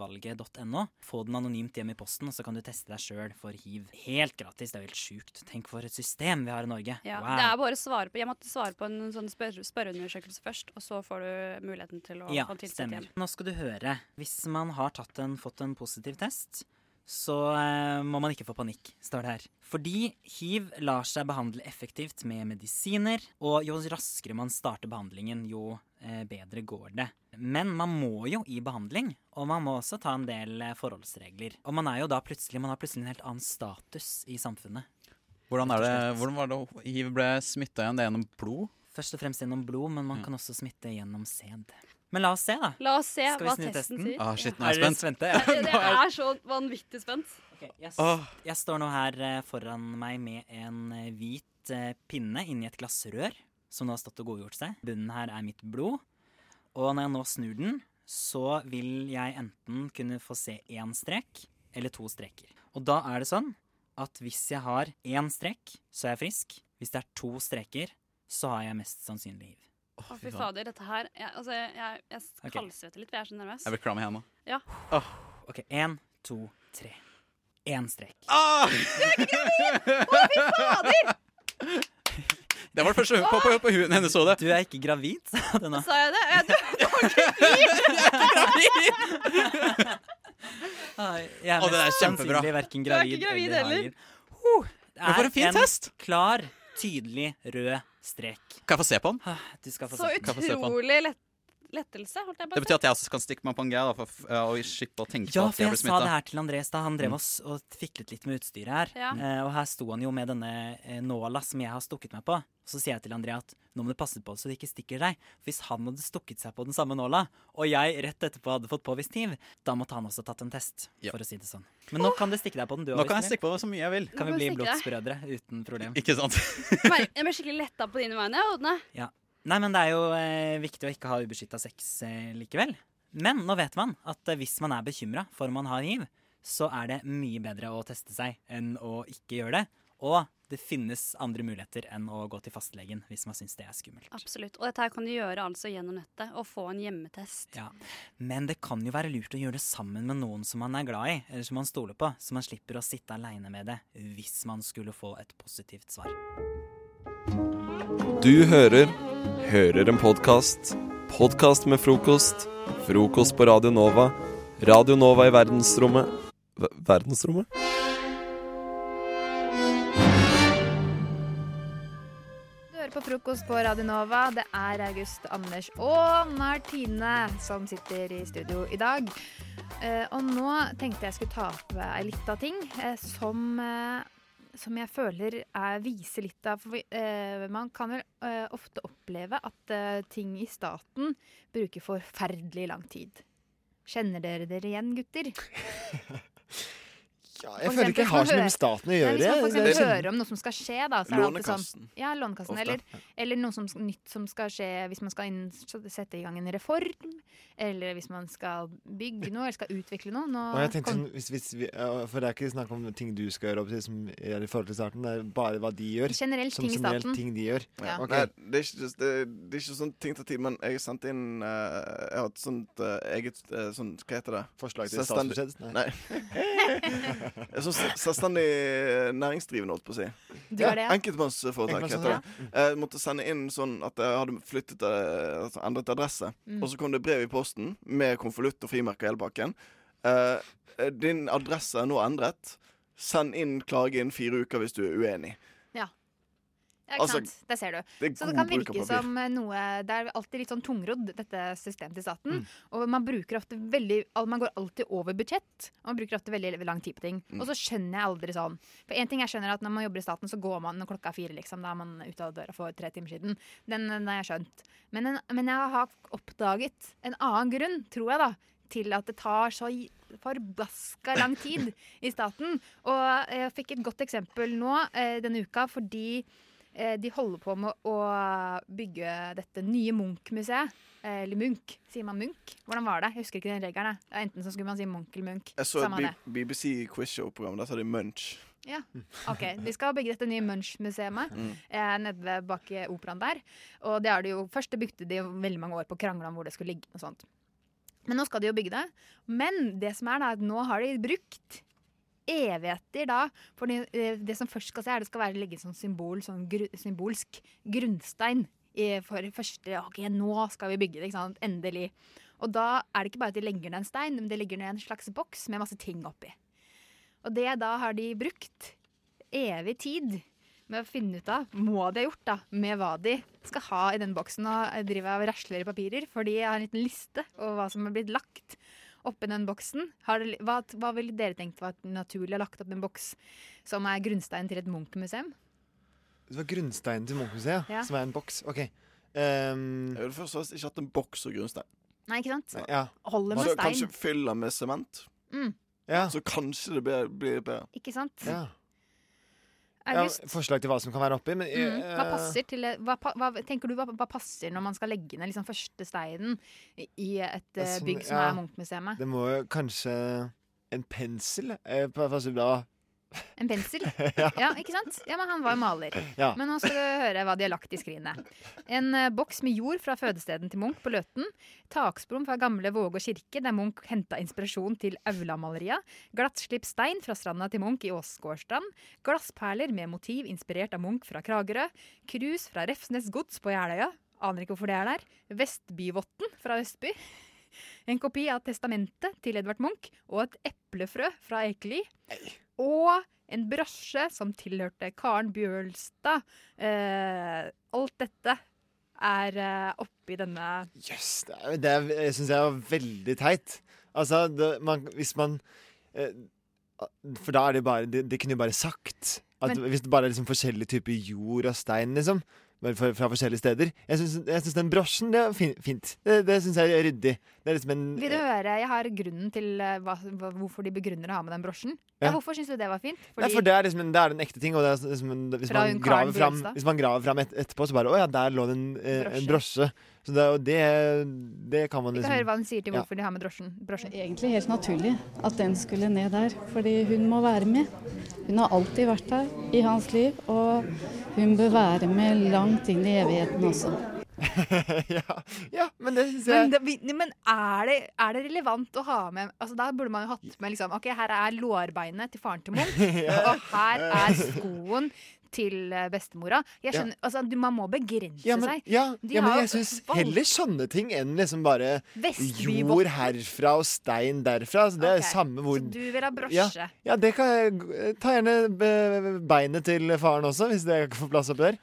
U: helseutvalget.no. Få den anonymt hjem i posten, og så kan du teste deg sjøl for hiv. Helt gratis, det er jo helt sjukt. Tenk for et system vi har i Norge.
E: Ja,
U: wow.
E: det er bare å svare på Jeg måtte svare på en sånn spør spørreundersøkelse først, og så får du muligheten til å
U: ja,
E: få tilskudd
U: stemmer.
E: igjen.
U: Nå skal du høre. Hvis man har tatt en, fått en positiv test, så eh, må man ikke få panikk, står det her. Fordi hiv lar seg behandle effektivt med medisiner, og jo raskere man starter behandlingen, jo eh, bedre går det. Men man må jo i behandling, og man må også ta en del eh, forholdsregler. Og man er jo da plutselig, man har plutselig en helt annen status i samfunnet.
T: Hvordan, er det, hvordan var det hiv ble smitta igjen? Det er gjennom blod?
U: Først og fremst gjennom blod, men
T: Mm.
U: man kan også smitte gjennom sæd. Men la oss se, da.
E: La oss se
U: Ah, Skal vi
E: hva
U: snu
E: testen, sier.
T: Ah, shit, nå
U: Ja.
T: er jeg spent.
U: dere spente?
E: Det, det er så vanvittig spent.
U: jeg, s- jeg står nå her eh, foran meg med en eh, hvit eh, pinne inni et glassrør, som nå har stått og godgjort seg. Bunnen her er mitt blod. Og når jeg nå snur den, så vil jeg enten kunne få se én strek eller to streker. Og da er det sånn
S: at hvis jeg har én strek, så er jeg frisk. Hvis det er to streker, så har jeg mest sannsynlig hiv.
E: Å, fy fader, dette her Jeg, altså, jeg, jeg
S: Ok.
E: kaldsvetter litt, for jeg er så nervøs.
S: Jeg blir klam i hendene.
E: Ja.
S: Åh, OK, én, to, tre. Én strek.
T: Ah!
E: Å, fy fader!
S: Det var det første hun på, på, på huden hennes så det. Du er ikke gravid, sa det nå.
E: Sa jeg det? Jeg, du,
S: Jeg er
T: Å, det er
S: mest
T: kjempebra.
S: sannsynlig Verken
E: Du er
S: gravid
E: ikke gravid
S: eller
E: heller.
S: hager. Huh, det
T: Men for en fin
S: en
T: test!
S: klar, tydelig rød strek.
T: Kan jeg få se på den?
S: Ah, Du skal få
E: så
T: Kan jeg få se på den?
E: utrolig lett, lettelse, holdt jeg på
T: Det betyr at jeg også kan stikke meg på en greie da, for, f- og slippe å tenke
S: Ja,
T: på at
S: for
T: jeg
S: jeg
T: blir
S: sa det
T: smitta.
S: her til Andreas da.
T: Mm.
S: Han drev oss og fiklet litt med utstyret her.
T: Ja.
S: Eh, og her sto han jo med denne eh, nåla som jeg har stukket meg på. Så sier jeg til Andrea at nå må du passe på så det ikke stikker deg. For hvis han hadde stukket seg på den samme nåla, og jeg rett etterpå hadde fått påvist hiv, da måtte han også tatt en test, for å si det sånn. Men nå kan du stikke deg på den, du
T: Nå
S: også,
T: kan jeg
S: Ismail.
T: stikke på det så mye jeg vil.
E: Nå
S: Kan
E: kan
S: vi
E: du
S: bli
E: stikke
S: blodsbrødre uten problem?
T: Ikke sant?
E: Mer- Jeg ble skikkelig letta på dine vegne, Odne.
S: Ja. Nei, men det er jo eh, viktig å ikke ha ubeskytta sex eh, likevel. Men nå vet man at eh, hvis man er bekymra for om man har hiv, så er det mye bedre å teste seg enn å ikke gjøre det. Og det finnes andre muligheter enn å gå til fastlegen hvis man syns det er skummelt.
E: Absolutt. Og dette her kan du gjøre altså gjennom nettet og få en hjemmetest.
S: Ja. Men det kan jo være lurt å gjøre det sammen med noen som man er glad i, eller som man stoler på, så man slipper å sitte aleine med det hvis man skulle få et positivt svar.
A: Du hører Hører en podkast. Podkast med frokost. Frokost på Radio Nova. Radio Nova i verdensrommet Ver- Verdensrommet?
D: Du hører på frokost på Radio Nova. Det er August, Anders og Martine som sitter i studio i dag. Eh, og nå tenkte jeg skulle ta opp ei lita ting eh, som, eh, som jeg føler er, viser litt av for vi- eh, Man kan vel eh, ofte oppleve at eh, ting i staten bruker forferdelig lang tid. Kjenner dere dere igjen, gutter?
V: Ja,
D: For
V: jeg føler ikke jeg
D: eksempel
V: har
D: hvis
V: så
D: man
V: mye med staten å
D: hører-
V: gjøre.
D: Nei, hvis man
V: jeg.
D: f.eks. hører om noe som skal skje, da, så er det alltid
V: Lånekassen.
D: sånn Ja, Lånekassen.
V: Ofte,
D: Eller, eller noe som, nytt som skal skje hvis man skal inn, sette i gang en reform, eller hvis man skal bygge noe, eller skal utvikle noe. Nå
V: Og jeg tenkte
D: kom-
V: sånn, hvis, hvis vi, ja, For det er ikke snakk om ting du skal gjøre, opp til, som er i forhold til starten. Det er bare hva de gjør.
D: Generelt
V: som
D: ting i
V: generelt
D: staten.
V: ting de gjør.
D: Ja.
V: Ok.
G: Nei, det er, ikke, just- det, det er ikke sånn ting tar tid, men jeg sendte inn eh, Jeg har et sånt eh, eget eh, sånn, Hva heter det?
V: Forslag til
G: Selvstendig-
V: statsbudsjett? Nei.
G: Nei. Jeg er sånn se- selvstendig eh, næringsdrivende, holdt på å si.
D: Du er det, ja. Mm.
G: Enkeltmannsforetak heter det. Eh, Jeg måtte sende inn sånn at jeg hadde flyttet eh, altså endret adresse.
D: Mm.
G: Og så kom det brev i posten med konvolutt og frimerker i hele pakken. Eh, eh, din adresse er nå endret. Send inn klage innen fire uker hvis du er uenig.
D: Ja. Ja, ikke
G: Altså,
D: sant? Det ser du.
G: det er
D: så det
G: god
D: kan
G: bruk av
D: virke
G: papir.
D: som eh, noe Det er alltid litt sånn tungrodd, dette systemet til
V: Mm.
D: staten. Og man bruker ofte veldig al- Man går alltid over budsjett. Og man bruker ofte veldig lang tid på ting.
O: Mm.
D: Og så skjønner jeg aldri sånn. For én ting jeg skjønner at når man jobber i staten, så går man når klokka er fire, liksom. Da er man ute av døra for tre timer siden. Den, den har jeg skjønt. Men, en, men jeg har oppdaget en annen grunn, tror jeg, da. Til at det tar så i- forbaska lang tid i staten. Og jeg fikk et godt eksempel nå eh, denne uka fordi Eh, De holder på med å bygge dette nye Munch-museet. Eh, Eller Munch. Sier man Munch? Hvordan var det? Jeg husker ikke den regelen. jeg. Det er Enten så skulle man si Munch eller Munch.
G: Jeg så et
D: Samme det.
G: B- BBC quizshow-program. Der sa de Munch.
D: Ja, ok. Vi skal bygge dette nye Munch-museet
G: Mm.
D: eh, nede ved bak eh, operaen der. Og det er det jo, først det bygde de jo veldig mange år på å krangle om hvor det skulle ligge. og sånt. Men nå skal de jo bygge det. Men det som er da, at nå har de brukt evigheter da, for det, eh, det som først skal se, er det skal være ligge sånn symbol, sånn gru, symbolsk grunnstein i- for første, ok, nå skal vi bygge det, ikke sant, endelig. Og da er det ikke bare at de legger ned en stein, men de legger ned en slags boks med masse ting oppi. Og det da har de brukt evig tid med å finne ut av, må de ha gjort da, med hva de skal ha i den boksen og drive og rasler i papirer, for de har en liten liste over hva som har blitt lagt oppi den boksen. Har det, hva, hva ville dere tenkt var naturlig å ha lagt opp i en boks som er grunnstein til et Munch-museum?
V: Det var grunnsteinen til Munch-museet,
D: Ja.
V: som er en boks. OK.
G: jeg ville først og fremst ikke hatt en boks og grunnstein.
D: Nei, ikke sant?
V: Ja.
D: Holder med
G: Så
D: stein.
G: kanskje fyll den med sement.
D: Mm,
G: Så kanskje det blir, blir bedre.
D: ikke sant?
V: Ja. Ja,
D: August,
V: forslag til hva som kan være oppi, men
D: Mm. Hva
V: eh,
D: passer til hva, pa- hva, tenker du, hva, hva passer når man skal legge ned liksom første steinen i- i et
V: Det er
D: eh,
V: sånn-
D: bygg som
V: ja.
D: er Munch-museet?
V: Det må jo kanskje en pensel eh, pa- passer bra
D: En pensel?
V: Ja.
D: ja. ikke sant? Ja, men Han var jo maler.
V: Ja.
D: Men nå skal du høre hva de har lagt i skrinet. En eh, boks med jord fra fødestedet til Munch på Løten. Taksprom fra gamle Vågå kirke, der Munch henta inspirasjon til Aulamaleria. Glattslipt stein fra stranda til Munch i Åsgårdstrand. Glassperler med motiv inspirert av Munch fra Kragerø. Krus fra Refsnes gods på Jeløya. Aner ikke hvorfor det er der. Vestbyvotten fra Østby. En kopi av testamentet til Edvard Munch og et eplefrø fra Ekeli. Og en brosje som tilhørte Karen Bjørlstad. Eh, alt dette er eh, oppi denne
V: Yes, det er- det er- jeg syns jeg var veldig teit. Altså, det, man, hvis man eh, For da er det bare Det, det kunne jo bare sagt. At
D: Men-
V: hvis det bare er liksom forskjellige typer jord og stein, liksom. Bare fra, fra forskjellige steder. Jeg syns, jeg syns den brosjen, det er fin, fint. Det, det syns jeg er ryddig. Det er liksom en
D: Vil du høre? Jeg har grunnen til eh, hva, hva, hvorfor de begrunner å ha med den brosjen. Ja.
V: Ja.
D: hvorfor syns du det var fint?
V: Nei, for det er liksom en, det er en ekte ting. Og det er liksom en, hvis,
D: Fra
V: man
D: hun Karen
V: graver fram,
D: Bjørnstad.
V: hvis man graver fram et, etterpå, så bare Å ja, der lå det en, eh, en brosje. Så det, er jo det, det kan man
D: Vi
V: liksom
D: kan høre hva hun sier til
V: Ja.
D: hvorfor de har med drosjen. brosjen.
C: Egentlig helt naturlig at den skulle ned der, fordi hun må være med. Hun har alltid vært der i hans liv, og hun bør være med langt inn i evigheten også.
V: Ja, men det syns
D: Men, vi- men er, det, er det relevant å ha med Altså Da burde man jo hatt med liksom Ok, her er lårbeinet til faren til Munch,
V: Ja.
D: og her er skoen til eh, bestemora.
V: Ja.
D: Jeg skjønner, altså du, Man må begrense
V: Ja, men,
D: seg.
V: ja,
D: De
V: ja,
D: har
V: men
D: jo
V: jeg syns
D: valgt-
V: heller sånne ting enn liksom bare
D: Vestbyvotten.
V: jord herfra og stein derfra. Altså, det er
D: Ok,
V: samme hvor
D: Du vil ha brosje.
V: ja, ja, det kan jeg eh, Ta gjerne be- beinet til faren også, hvis det får plass oppi der.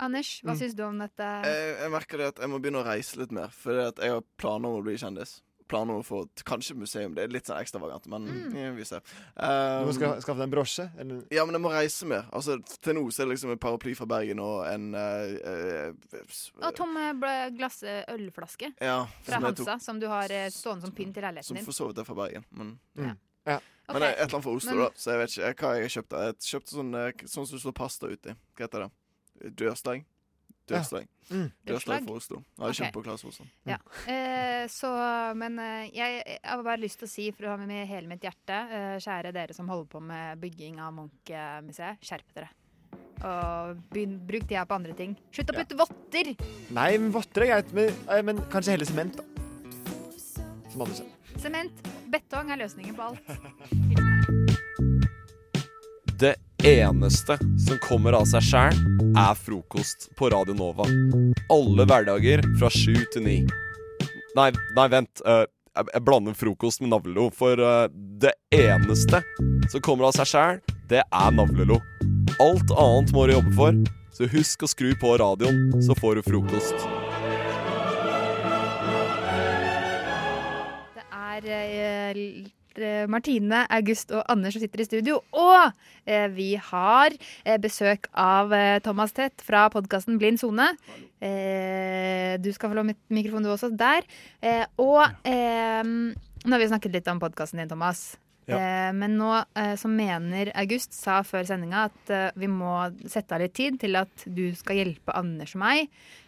D: Anders, hva
G: Mm.
D: syns du om dette?
G: Jeg, jeg merker det at jeg må begynne å reise litt mer, for det at jeg har planer om å bli kjendis. Planer om å få et- kanskje museum. Det er litt sånn ekstravagant, men
D: Mm.
G: eh, vi ser.
V: Du
G: Um,
V: må ska- skaffe deg en brosje. Eller?
G: ja, men jeg må reise mer. Altså, til nå så er det liksom en paraply fra Bergen og en eh, eh, s-
D: Og tom eh, bl- glass eh, ølflaske
G: Ja,
D: fra
G: som jeg tok-
D: Hansa, som du har eh, stående som pynt i
G: Som
D: leiligheten
G: for
D: din.
G: så vidt er fra Bergen. Men,
V: Mm. Ja.
G: men det er et eller annet fra Oslo,
D: Men-
G: da. Så jeg vet ikke eh, hva jeg har kjøpt. der. Jeg kjøpte sånn, eh, k- sånn som du slår pasta uti. Hva heter det? Dørstang? Dørstang.
V: Ja. Mm.
G: Dørstang
D: Dørslag?
G: fra Oslo. Jeg har
D: Ok.
G: kjøpt på Klas Olsson.
D: Ja. Eh, så, men eh, jeg, jeg har bare lyst til å si fra med hele mitt hjerte, eh, kjære dere som holder på med bygging av Munch-museet, skjerp dere. Og begynn, bruk tida på andre ting. Slutt å putte votter!
V: Nei, men votter er greit, men, eh, men kanskje heller sement, da. Som Anders sa.
D: Sement, betong er løsningen på alt.
A: Det eneste som kommer av seg sjæl, er frokost på Radio Nova. Alle hverdager fra sju til ni. Nei, nei vent. eh, jeg, jeg blander frokost med navlelo, for eh, det eneste som kommer av seg sjæl, det er navlelo. Alt annet må du jobbe for, så husk å skru på radioen, så får du frokost.
D: Det er eh, l- eh, Martine, August og Anders som sitter i studio. Og eh, vi har eh, besøk av eh, Thomas Tett fra podkasten Blind sone. Eh, du skal få lov mik- mikrofon du også, der. Eh, og eh, nå har vi snakket litt om podkasten din, Thomas.
I: Ja.
D: Eh, men nå eh, så mener August, sa før sendinga, at eh, vi må sette av litt tid til at du skal hjelpe Anders og meg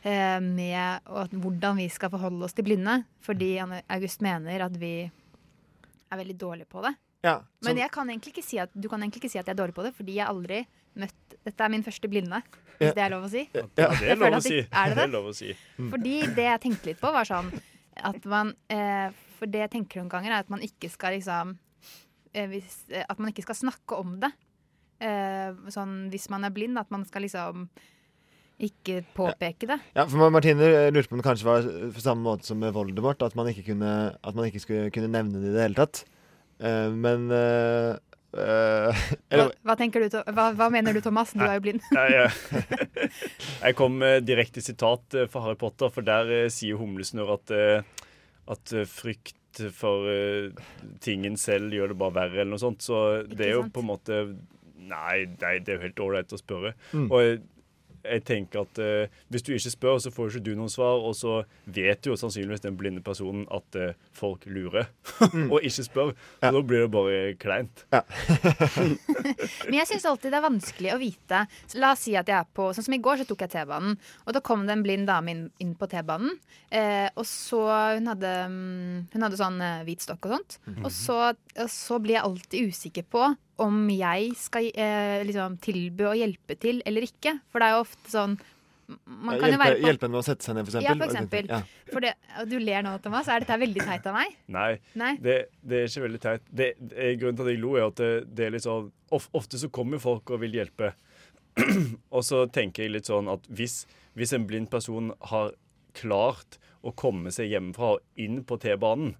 D: eh, med og at, hvordan vi skal forholde oss til blinde. Fordi
W: Mm.
D: Anne- August mener at vi er veldig dårlige på det.
V: Ja,
D: Men jeg kan egentlig ikke si at, du kan egentlig ikke si at jeg er dårlig på det, fordi jeg har aldri møtt Dette er min første blinde, hvis
W: Ja.
D: det er lov å si.
W: Ja, det
D: Jeg
W: er
D: føler
W: lov å
D: at
W: si.
D: det- Er det det?
W: lov Mm. å si.
D: Fordi det jeg tenkte litt på, var sånn at man eh, For det jeg tenker noen ganger, er at man ikke skal liksom eh, hvis, eh, At man ikke skal snakke om det. Eh, sånn hvis man er blind, at man skal liksom ikke påpeke det.
V: Ja, for Martine eh, lurte på om det kanskje var eh, på samme måte som med Voldemort, at man ikke, kunne, at man ikke skulle kunne nevne det i det hele tatt. Eh, men eh, eh,
D: Hva,
V: eller,
D: hva, tenker du, To- hva, hva mener du, Thomas? Du er jo blind.
W: Nei, jeg, jeg kom med direkte sitat eh, fra Harry Potter, for der eh, sier Humlesnurr at, eh, at eh, frykt for eh, tingen selv gjør det bare verre, eller noe sånt. Så det er jo på en måte Nei, nei det er jo helt ålreit å spørre.
V: Mm.
W: Og jeg, jeg tenker at eh, hvis du ikke spør, så får jo ikke du noen svar, og så vet jo sannsynligvis den blinde personen at eh, folk lurer og ikke spør. Så da blir det bare kleint.
D: Men jeg syns alltid det er vanskelig å vite. Så la oss si at jeg er på Sånn som i går, så tok jeg T-banen. Og da kom det en blind dame inn, inn på T-banen. Eh, og så Hun hadde,
V: Mhm.
D: mm, hun hadde sånn eh, hvit stokk og sånt. Og så, og så blir jeg alltid usikker på om jeg skal eh, liksom, tilby å hjelpe til eller ikke. For det er jo ofte sånn man kan jo
V: hjelpe,
D: være på,
V: hjelpe henne med å sette seg ned, for
D: Ja,
V: eksempel.
D: for eksempel.
V: Ja.
D: For det, og du ler nå, Thomas. Er dette veldig teit av meg?
W: Nei,
D: Nei.
W: Det, det er ikke veldig teit. Det, det, er- grunnen til at jeg lo, er at det, det er litt sånn of, Ofte så kommer folk og vil hjelpe. og så tenker jeg litt sånn at hvis, hvis en blind person har klart å komme seg hjemmefra og inn på T-banen,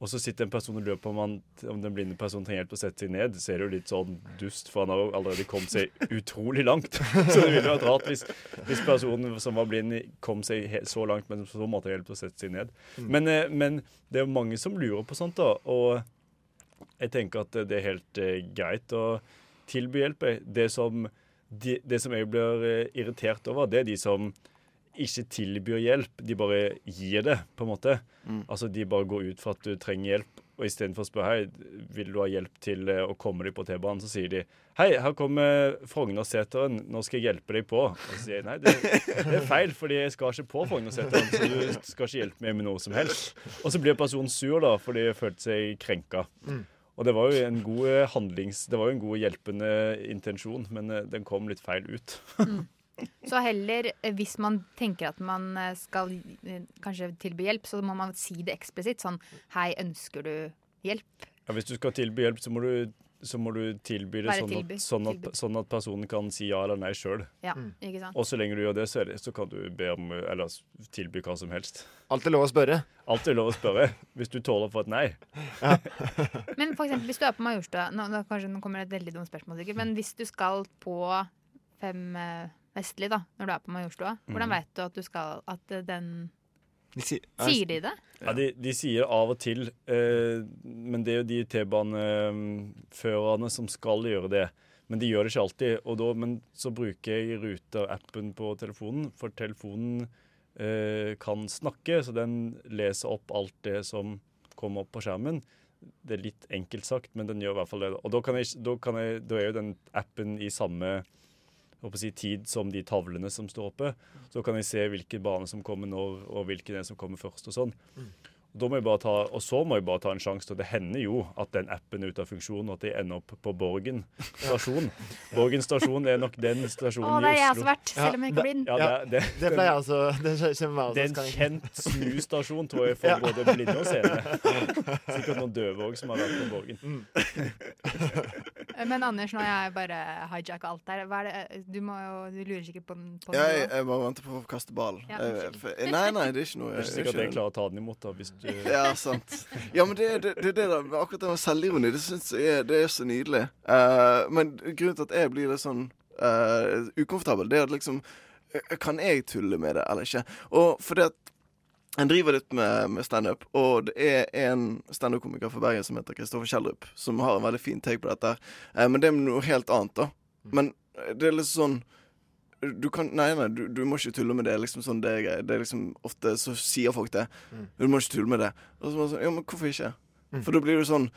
W: og så sitter en person og lurer på om, han, om den blinde personen trenger hjelp til å sette seg ned, så er det jo litt sånn dust, for han har jo allerede kommet seg utrolig langt. Så det ville vært rart hvis, hvis personen som var blind, kom seg he så langt, men så måtte han hjelp til å sette seg ned.
V: Mm.
W: Men, eh, men det er jo mange som lurer på sånt, da. Og jeg tenker at det er helt eh, greit å tilby hjelp. jeg. Det som, de, det som jeg blir eh, irritert over, det er de som ikke tilbyr hjelp, de bare gir det, på en måte.
G: Mm.
W: Altså de bare går ut fra at du trenger hjelp, og istedenfor å spørre hei, vil du ha hjelp til eh, å komme deg på T-banen, så sier de hei, her kommer Frognerseteren, nå skal jeg hjelpe deg på. Og så sier jeg nei, det, det er feil, fordi jeg skal ikke på Frognerseteren, så du skal ikke hjelpe meg med noe som helst. Og så blir personen sur da, fordi jeg følte seg krenka.
V: Mm.
W: Og det var jo en god eh, handlings... Det var jo en god hjelpende intensjon, men eh, den kom litt feil ut.
D: Så heller, eh, hvis man tenker at man eh, skal eh, kanskje tilby hjelp, så må man si det eksplisitt. Sånn Hei, ønsker du hjelp?
W: Ja, hvis du skal tilby hjelp, så må du, så må du tilby det
D: Være
W: sånn at,
D: tilby-
W: sånn, at,
D: tilbud.
W: sånn at personen kan si ja eller nei sjøl.
D: Ja, Mm. ikke sant?
W: Og så lenge du gjør det, så, er det, så kan du be om, eller s- tilby hva som helst.
V: Alt er lov å spørre.
W: Alt er lov å spørre, hvis du tåler å få et nei.
D: Men for eksempel, hvis du er på Majorstua nå, nå, Kanskje nå kommer det et veldig dumt spørsmål, sikkert. Men hvis du skal på Fem eh, Vestlig, da, når du er på Majorstua,
W: Mm.
D: hvordan vet du at du skal At eh, den Sier
W: Sier
D: de det?
W: Ja, de, de sier av og til, eh, men det er jo de T-baneførerne som skal gjøre det. Men de gjør det ikke alltid. Og da, men så bruker jeg Ruter-appen på telefonen, for telefonen eh, kan snakke, så den leser opp alt det som kommer opp på skjermen. Det er litt enkelt sagt, men den gjør i hvert fall det. da. Og da, kan jeg, ikke- da, kan jeg, da er jo den appen i samme jeg håper å si, tid som de tavlene som står oppe. Så kan jeg se hvilke baner som kommer når, og hvilken som kommer først. og sånn.
V: Mm.
W: Og, da må jeg bare ta, og så må jeg bare ta en sjanse. Og det hender jo at den appen er ute av funksjon, og at jeg ender opp på Borgen stasjon. Borgen stasjon er nok den stasjonen
D: Å, der er
W: i
D: jeg
W: Oslo.
D: også vært, selv om jeg ikke er blind.
W: Ja, det, det,
V: Det pleier jeg også. Det skjer- skjer med meg også.
W: det er en
V: skal jeg-
W: kjent snustasjon, tror jeg, for
V: Ja.
W: både blinde og seende. Sikkert noen døve òg som har vært på
V: Mm.
W: Borgen.
D: Eh, Men Anders, nå har jeg bare hijacka alt der. Hva er det? eh, Du, må jo, du lurer sikkert på, den- på den
G: Ja,
D: nå.
G: jeg, jeg bare venter på å kaste ball.
D: Ja,
G: Eh,
D: unnskyld.
G: for- Nei, nei, det er ikke noe
W: Det er ikke sikkert at jeg klarer å ta den imot, da, hvis du
G: Ja, altså. sant. Ja, men det, er- det, det, er det der, med akkurat det med selvironi, det syns jeg er, det er så nydelig. Eh, men grunnen til at jeg blir litt sånn eh, ukomfortabel, det er at liksom eh, Kan jeg tulle med det, eller ikke? Og fordi at jeg driver litt med, med standup, og det er en standup-komiker fra Bergen som heter Kristoffer Kjellrup, som har en veldig fin take på dette. her. Eh, men det er noe helt annet, da.
V: Mm.
G: Men eh, det er litt sånn du kan, nei, nei, du, du må ikke tulle med det. Liksom sånn det er greit. Det er liksom, ofte så sier folk det.
V: Mm.
G: Du må ikke tulle med det. Og så er man sånn, ja, men hvorfor ikke? For da blir du sånn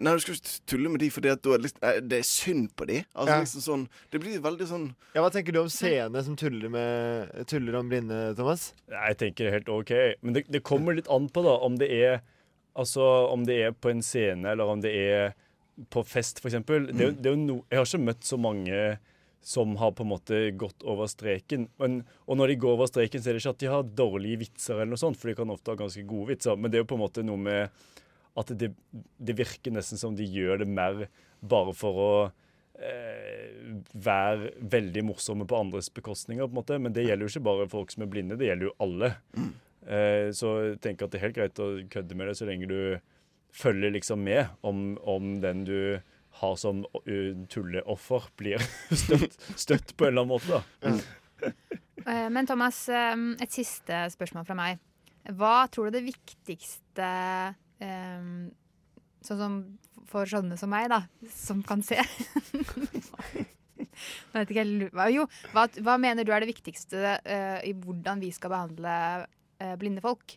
G: Nei, du skal ikke tulle med de, for det, liksom, nei, det er synd på de. Altså,
V: Ja.
G: liksom sånn, det blir veldig sånn
V: Ja, Hva tenker du om seende som tuller, med, tuller om blinde, Thomas?
W: Nei, jeg tenker det er helt OK. Men det, det kommer litt an på da, om det er Altså, om det er på en scene, eller om det er på fest, f.eks. Det, er jo- det er jo no, jeg har ikke møtt så mange som har på en måte gått over streken. Men, og når de går over streken, så er det ikke at de har dårlige vitser, eller noe sånt, for de kan ofte ha ganske gode vitser. Men det er jo på en måte noe med at det, det virker nesten som de gjør det mer bare for å eh, være veldig morsomme på andres bekostninger, på en måte. Men det gjelder jo ikke bare folk som er blinde, det gjelder jo alle. Eh, så jeg tenker at det er helt greit å kødde med det så lenge du følger liksom med om, om den du har som uh, tulleoffer, blir støtt, støtt på en eller annen måte, da.
D: Eh, Men Thomas, eh, et siste spørsmål fra meg. Hva tror du det viktigste eh, Sånn som for sånne som meg, da, som kan se Jeg vet ikke, jeg lurer- hva- jo, hva, hva mener du er det viktigste eh, i hvordan vi skal behandle eh, blinde folk?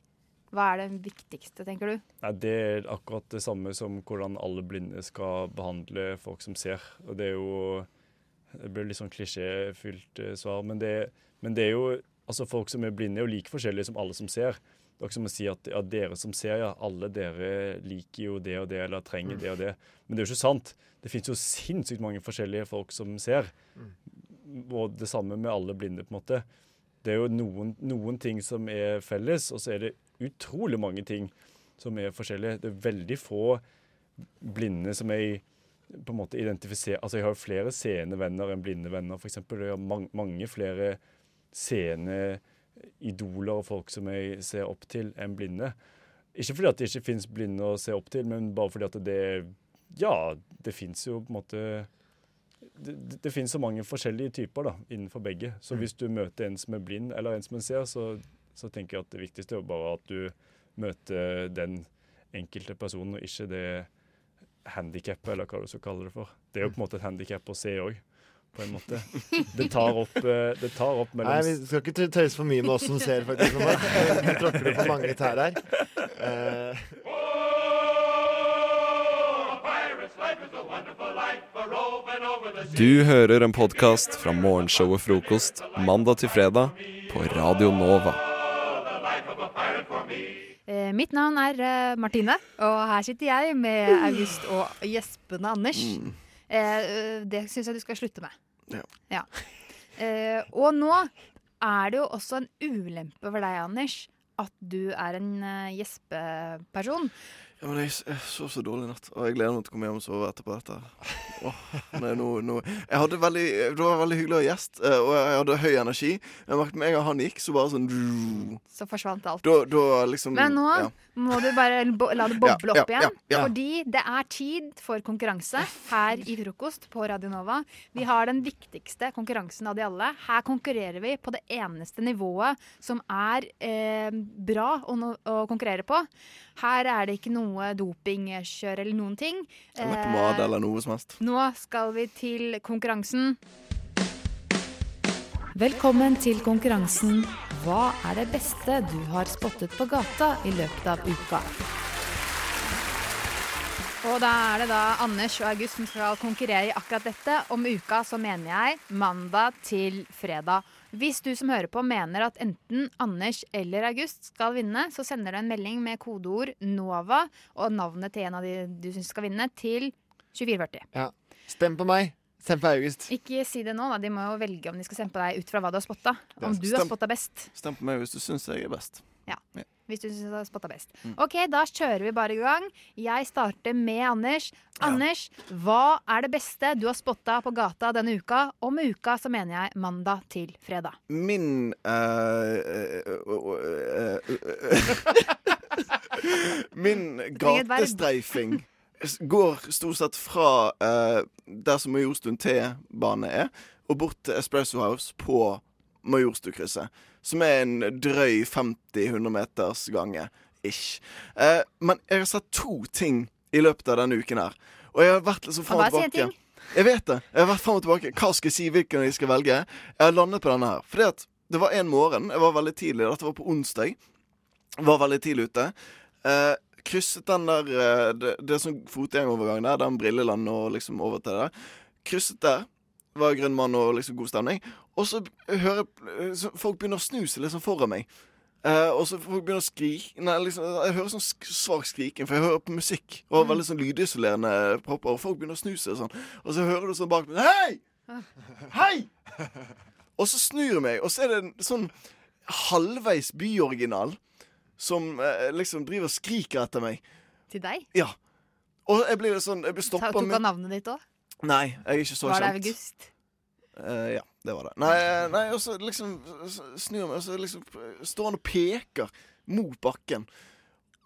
D: Hva er det viktigste, tenker du?
W: Nei, det er akkurat det samme som hvordan alle blinde skal behandle folk som ser. Og det er jo Det blir litt sånn klisjéfylt eh, svar, men det, men det er jo Altså, folk som er blinde, er jo like forskjellige som alle som ser. Det er ikke som å si at ja, dere som ser, ja, alle dere liker jo det og det, eller trenger det og det. Men det er jo ikke sant. Det fins jo sinnssykt mange forskjellige folk som ser. Og det samme med alle blinde, på en måte. Det er jo noen, noen ting som er felles, og så er det utrolig mange ting som er forskjellige. Det er veldig få blinde som jeg på en måte identifiserer Altså, jeg har jo flere seende venner enn blinde venner, f.eks. Jeg har mang- mange flere seende idoler og folk som jeg ser opp til, enn blinde. Ikke fordi at det ikke fins blinde å se opp til, men bare fordi at det Ja, det fins jo på en måte Det, det, det fins så mange forskjellige typer da, innenfor begge.
V: Mm.
W: Så hvis du møter en som er blind, eller en som en ser, så, så tenker jeg at det viktigste er jo bare at du møter den enkelte personen, og ikke det handikappet, eller hva du skal kalle det for. Det er jo på en måte et handikap å se òg, på en måte. Det tar opp, eh, det tar opp mellom
V: Nei, vi skal ikke tø- tøyse for mye med oss som ser, faktisk. Nå Nå tråkker du på mange tær her. Eh,
A: Du hører en podkast fra morgenshowet Frokost mandag til fredag på Radio Nova.
D: Eh, mitt navn er eh, Martine, og her sitter jeg med August og gjespende Anders.
G: Mm.
D: Eh, eh, det syns jeg du skal slutte med.
G: Ja.
D: Ja. Eh, og nå er det jo også en ulempe for deg, Anders, at du er en eh, gjespeperson.
G: Ja, men jeg s- jeg sov så dårlig i natt, og jeg gleder meg til å komme hjem og sove etterpå dette. her. Åh, nei, nå, nå. Jeg hadde veldig, Det var veldig hyggelig å ha gjest, eh, og jeg hadde høy energi. Jeg merket med en gang han gikk, så bare sånn
D: Så forsvant alt.
G: Da, da liksom
D: Men nå
G: ja.
D: må du bare bo la det boble
G: Ja, ja,
D: opp igjen.
G: ja, ja.
D: Fordi det er tid for konkurranse her i frokost på Radio Nova. Vi har den viktigste konkurransen av de alle. Her konkurrerer vi på det eneste nivået som er eh, bra å, nå- å konkurrere på. Her er det ikke noe dopingkjør eller noen ting.
G: Eller
D: Eh,
G: pomade eller noe som helst.
D: nå skal vi til konkurransen.
I: Velkommen til konkurransen Hva er det beste du har spottet på gata i løpet av uka?
D: Og da er det da Anders og August som skal konkurrere i akkurat dette. Om uka så mener jeg mandag til fredag. Hvis du som hører på mener at enten Anders eller August skal vinne, så sender du en melding med kodeord NOVA og navnet til en av de du syns skal vinne, til 2440.
V: ja. Stem på meg. Stem på August.
D: Ikke si det nå, da. De må jo velge om de skal stemme på deg ut fra hva du har spotta.
G: Ja,
D: Om du har
G: stem.
D: spotta best.
G: Stem på meg hvis du syns jeg er best.
D: Ja.
G: Ja.
D: Hvis du syns du har spotta best.
G: Mm.
D: OK, da kjører vi bare i gang. Jeg starter med Anders. Anders, hva er det beste du har spotta på gata denne uka? Og med uka så mener jeg mandag til fredag.
G: Min eh, eh, eh, eh, eh, Min
D: trenger et verb.
G: gatestreifing s- går stort sett fra eh, der som Majorstuen T-bane er, og bort til Espresso House på Majorstukrysset. Som er en drøy 50-100 meters gange. Ish. Eh, men jeg har sett to ting i løpet av denne uken her. Og jeg har vært litt så
D: Kan
G: fram og
D: bare si en
G: tilbake.
D: ting.
G: Jeg vet det. Jeg har vært frem og tilbake. Hva skal jeg si, hvilken jeg skal velge? Jeg har landet på denne her. Fordi at det var en morgen, jeg var veldig tidlig, dette var på onsdag, var veldig tidlig ute. Eh, krysset den der, eh, det, det er sånn fotgjengovergang der, den brilleland og liksom over til det der. Krysset der, var grønn mann og liksom god stemning. Og så hører jeg eh, så folk begynner å snu seg liksom foran meg. Eh, og så folk begynner å skrike Nei, liksom, Jeg hører sånn sk svak skriking, for jeg hører på musikk. Og veldig sånn lydisolerende propper. Og folk begynner å snu seg sånn. Og så hører du sånn bak meg Hei! Hei! Og så snur jeg meg, og så er det en sånn halvveis byoriginal som eh, liksom driver og skriker etter meg.
D: Til deg?
G: Ja. Og jeg blir litt sånn Jeg blir
D: Ta,
G: stoppa
D: tok han navnet ditt òg?
G: Nei, jeg er ikke så
D: Var det
G: kjent.
D: August?
G: Eh, ja, det var det. Nei, nei og så liksom så snur jeg meg, og så liksom står han og peker mot bakken.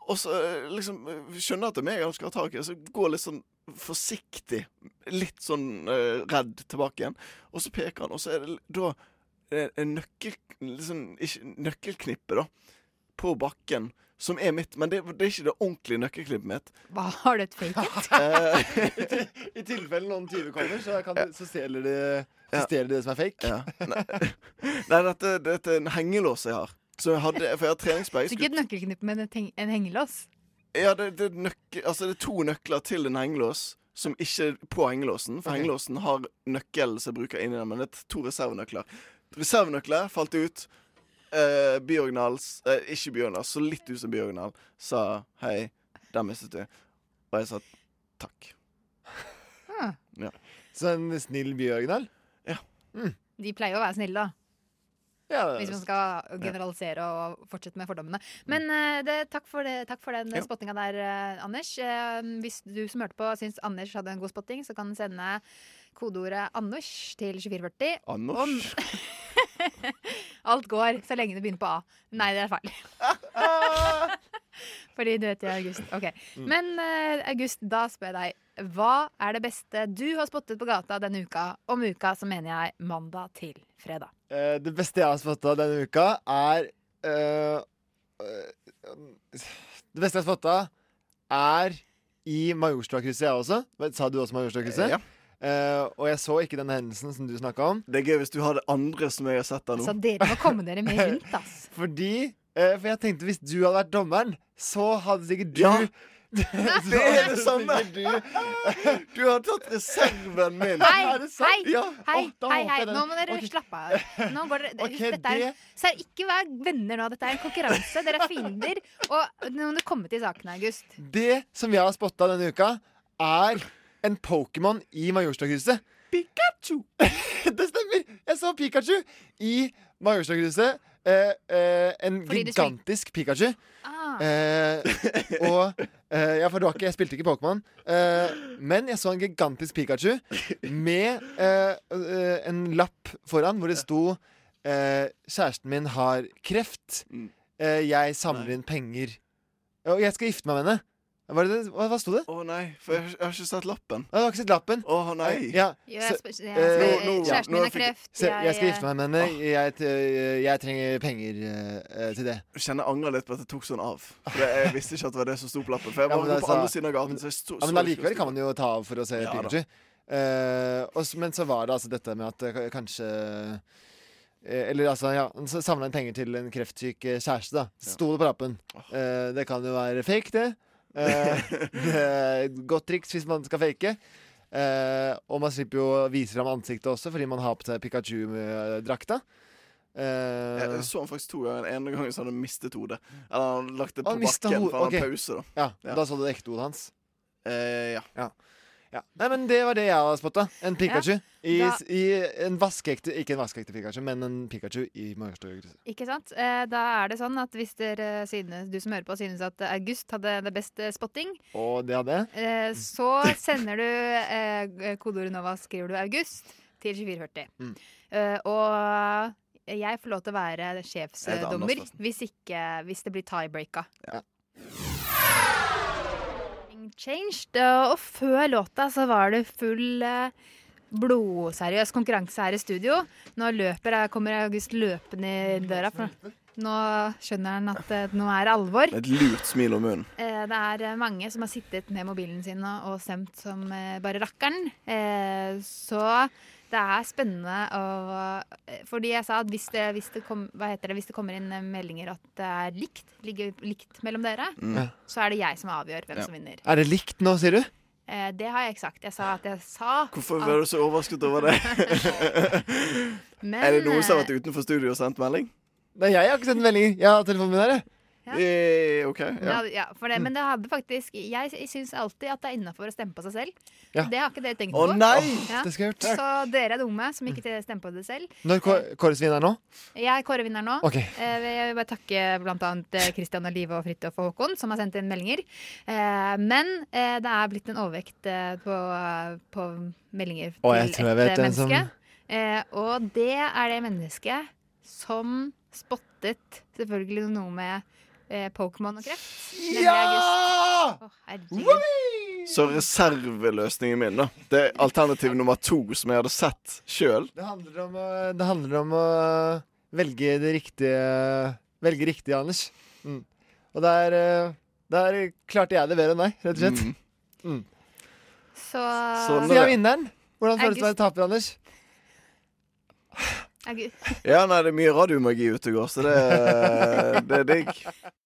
G: Og så eh, liksom eh, skjønner jeg at det er meg han skal ha tak i, og så går jeg litt sånn forsiktig, litt sånn eh, redd tilbake igjen. Og så peker han, og så er det l- da eh, en nøkkel, liksom, ikke, nøkkelknippe, da, på bakken, som er mitt, men det, det er ikke det ordentlige nøkkelknippet mitt.
D: Hva, har du et fake it?
G: Eh,
V: I tilfelle noen tyver kommer, så, kan, du- så stjeler de så
G: Ja.
V: stjeler de det som er fake.
G: Nei, nei dette, dette er en hengelås jeg har. Så jeg hadde, for jeg har treningsbag.
D: Så ikke et nøkkelknippe, men et heng- en hengelås?
G: Ja, det, det, er nøkke, altså det er to nøkler til en hengelås som ikke er på hengelåsen. For
V: Ok.
G: hengelåsen har nøkkelen som jeg bruker inni den, men det er to reservenøkler. Reservenøkler falt ut. eh, Bjørgnals eh, Ikke Bjørgnals, så litt ut som Bjørgnal, sa hei, der mistet du. Og jeg sa takk. Ja.
V: Så en snill Bjørgnal?
G: Ja.
D: De pleier å være snille, da.
V: Ja, Mm.
D: Hvis man skal generalisere og fortsette med fordommene. Men eh, det, takk, for det, takk for den
V: Ja.
D: spottinga der, eh, Anders. Eh, hvis du som hørte på syns Anders hadde en god spotting, så kan du sende kodeordet 'Anders' til 2440.
G: Anders?
D: Og alt går så lenge det begynner på A. Nei, det er feil. Fordi du heter August. Ok.
J: Mm.
D: Men eh, August, da spør jeg deg. Hva er det beste du har spottet på gata denne uka? Om uka så mener jeg mandag til fredag.
V: Eh, det beste jeg har spotta denne uka, er eh, eh, Det beste jeg har spotta, er i Majorstadkrysset, jeg også. Men Sa du også Majorstadkrysset?
G: Ja.
V: Eh, og jeg så ikke den hendelsen som du snakka om.
G: Det er gøy hvis du har det andre som jeg har sett der
D: Så dere må komme dere mer rundt, ass.
V: Fordi eh, For jeg tenkte hvis du hadde vært dommeren, så hadde sikkert du
G: Ja.
V: Så
G: Det er det
V: hadde
G: samme!
V: sikkert Du
G: Du har tatt reserven min.
D: Hei,
V: Er det sant?
D: hei,
V: Ja.
D: hei,
V: Å, da
D: hei,
V: håper
D: hei.
V: jeg det.
D: Nå må dere slappe av. Nå går dere, dette er,
V: det-
D: så er ikke vær venner nå. Dette er en konkurranse. Dere er fiender. Og nå må du komme til saken, August.
V: Det som jeg har spotta denne uka, er en Pokémon i Majorstadkrysset. Pikachu! det stemmer! Jeg så Pikachu i Majorstadkrysset. Eh, eh, en
D: Fordi du spil-
V: gigantisk Pikachu.
D: Ah.
V: Eh, og eh, Ja, for det var ikke Jeg spilte ikke Pokémon. Eh, men jeg så en gigantisk Pikachu med eh, eh, en lapp foran hvor det sto eh, 'Kjæresten min har kreft. Eh, jeg samler inn penger.' Og jeg skal gifte meg med henne. Var det det? Hva, hva sto det?
G: Å nei, for jeg, jeg har ikke sett lappen.
V: Ja, du har ikke sett lappen?
G: Å nei.
V: Ja,
D: Jo, jeg sp- jeg-
V: eh,
D: nå- nå- kjæresten min har kreft.
V: Så jeg, skal
D: Jeg-
V: gifte meg med henne. Jeg, t- jeg trenger penger eh, eh, til det.
G: Jeg kjenner jeg angrer litt på at jeg tok sånn av. For jeg, jeg visste ikke at det var det som sto på lappen. For jeg
V: Ja,
G: var
V: men
G: på
V: altså-
G: andre siden av gaten. Så jeg sto,
V: Ja, men allikevel kan man jo ta av for å se
G: Ja, da.
V: Pikachu. Eh, og s- men så var det altså dette med at eh, k- kanskje eh, Eller altså, ja. så Samla inn penger til en kreftsyk eh, kjæreste, da. Sto det på lappen. Eh, det kan jo være fake, det. Eh, det er et godt triks hvis man skal fake. Eh, og man slipper jo å vise fram ansiktet også, fordi man har på seg Pikachu-drakta. Eh,
G: Jeg, jeg så han faktisk to ganger. Den ene gangen så hadde han mistet hodet. Eller han hadde lagt det på
V: Å, mistet
G: bakken
V: hodet,
G: for han
V: ok.
G: hadde pause, da.
V: Ja,
G: Ja. Eh,
V: Da så du det ekte hodet hans?
G: ja.
V: ja. Nei, men Det var det jeg har spotta. En Pikachu. I,
D: da-
V: i en vaskeekte Ikke en vaskeekte Pikachu, men en Pikachu i Majorstua-grise.
D: Ikke sant? Eh, Da er det sånn at hvis dere synes, du som hører på synes at August hadde det beste spotting,
V: Og det hadde jeg.
D: eh, så sender du eh, kodeordet NOVA, skriver du August, til 2440.
V: Mm.
D: Eh, og jeg får lov til å være
V: Jeg heter Anders
D: sjefsdommer
V: Fossen.
D: hvis, ikke, hvis det blir tiebreaka. Changed, eh, og før låta så var det full eh, blodseriøs konkurranse her i studio. Nå løper, jeg- kommer August løpende i døra. For nå skjønner han at eh, nå er det alvor.
G: Med et lurt smil om munnen.
D: Eh, Det er eh, mange som har sittet med mobilen sin og og stemt som eh, bare rakkeren. Eh, Så det er spennende å eh, Fordi jeg sa at hvis det, hvis det, kom, hva heter det, hvis det kommer inn eh, meldinger at det er likt, ligger likt mellom dere,
V: Mm.
D: så er det jeg som avgjør hvem som vinner.
V: Er det likt nå, sier du?
D: Eh, Det har jeg ikke sagt. Jeg sa at jeg sa
G: Hvorfor
D: at-
G: ble du så overrasket over det?
D: Men,
G: er det noen som har
D: eh,
G: vært utenfor studio og sendt melding?
V: Nei, jeg har ikke sendt meldinger. Jeg har telefonen min her, jeg.
G: Eh, OK. Ja.
D: Ja, ja, for det, men det hadde faktisk Jeg syns alltid at det er innafor å stemme på seg selv.
V: Ja.
D: Det har ikke dere tenkt
V: Å,
D: på.
V: nei! Det skal jeg gjøre.
D: Så dere er dumme som ikke stemmer på dere selv.
V: Når Kå- Kåre Svin er nå?
D: Jeg er Kåre-vinner nå.
V: Ok.
D: Eh, Jeg vil bare takke bl.a. Kristian og Live og Fridtjof og Håkon, som har sendt inn meldinger. Eh, Men eh, det er blitt en overvekt eh, på, på meldinger til
V: Å, jeg tror jeg
D: et
V: vet
D: eh,
V: en som-
D: menneske. Eh, Og det er det mennesket som spottet selvfølgelig noe med eh, Pokémon og kreft. nemlig
V: Ja!
D: August. Å, herregud.
G: Så reserveløsningen min, da. Det er alternativ nummer to som jeg hadde sett sjøl.
V: Det handler om, å- det handler om å eh, velge det riktige Velge riktig, Anders. Mm. Og der, eh, der klarte jeg det bedre enn deg, rett og slett.
G: Mm.
V: Mm.
D: Så
V: Sånn Sier vinneren. Hvordan føles det å være taper, Anders?
D: August.
G: Ja, nei, det er mye radiomagi ute og går, så det, det er digg.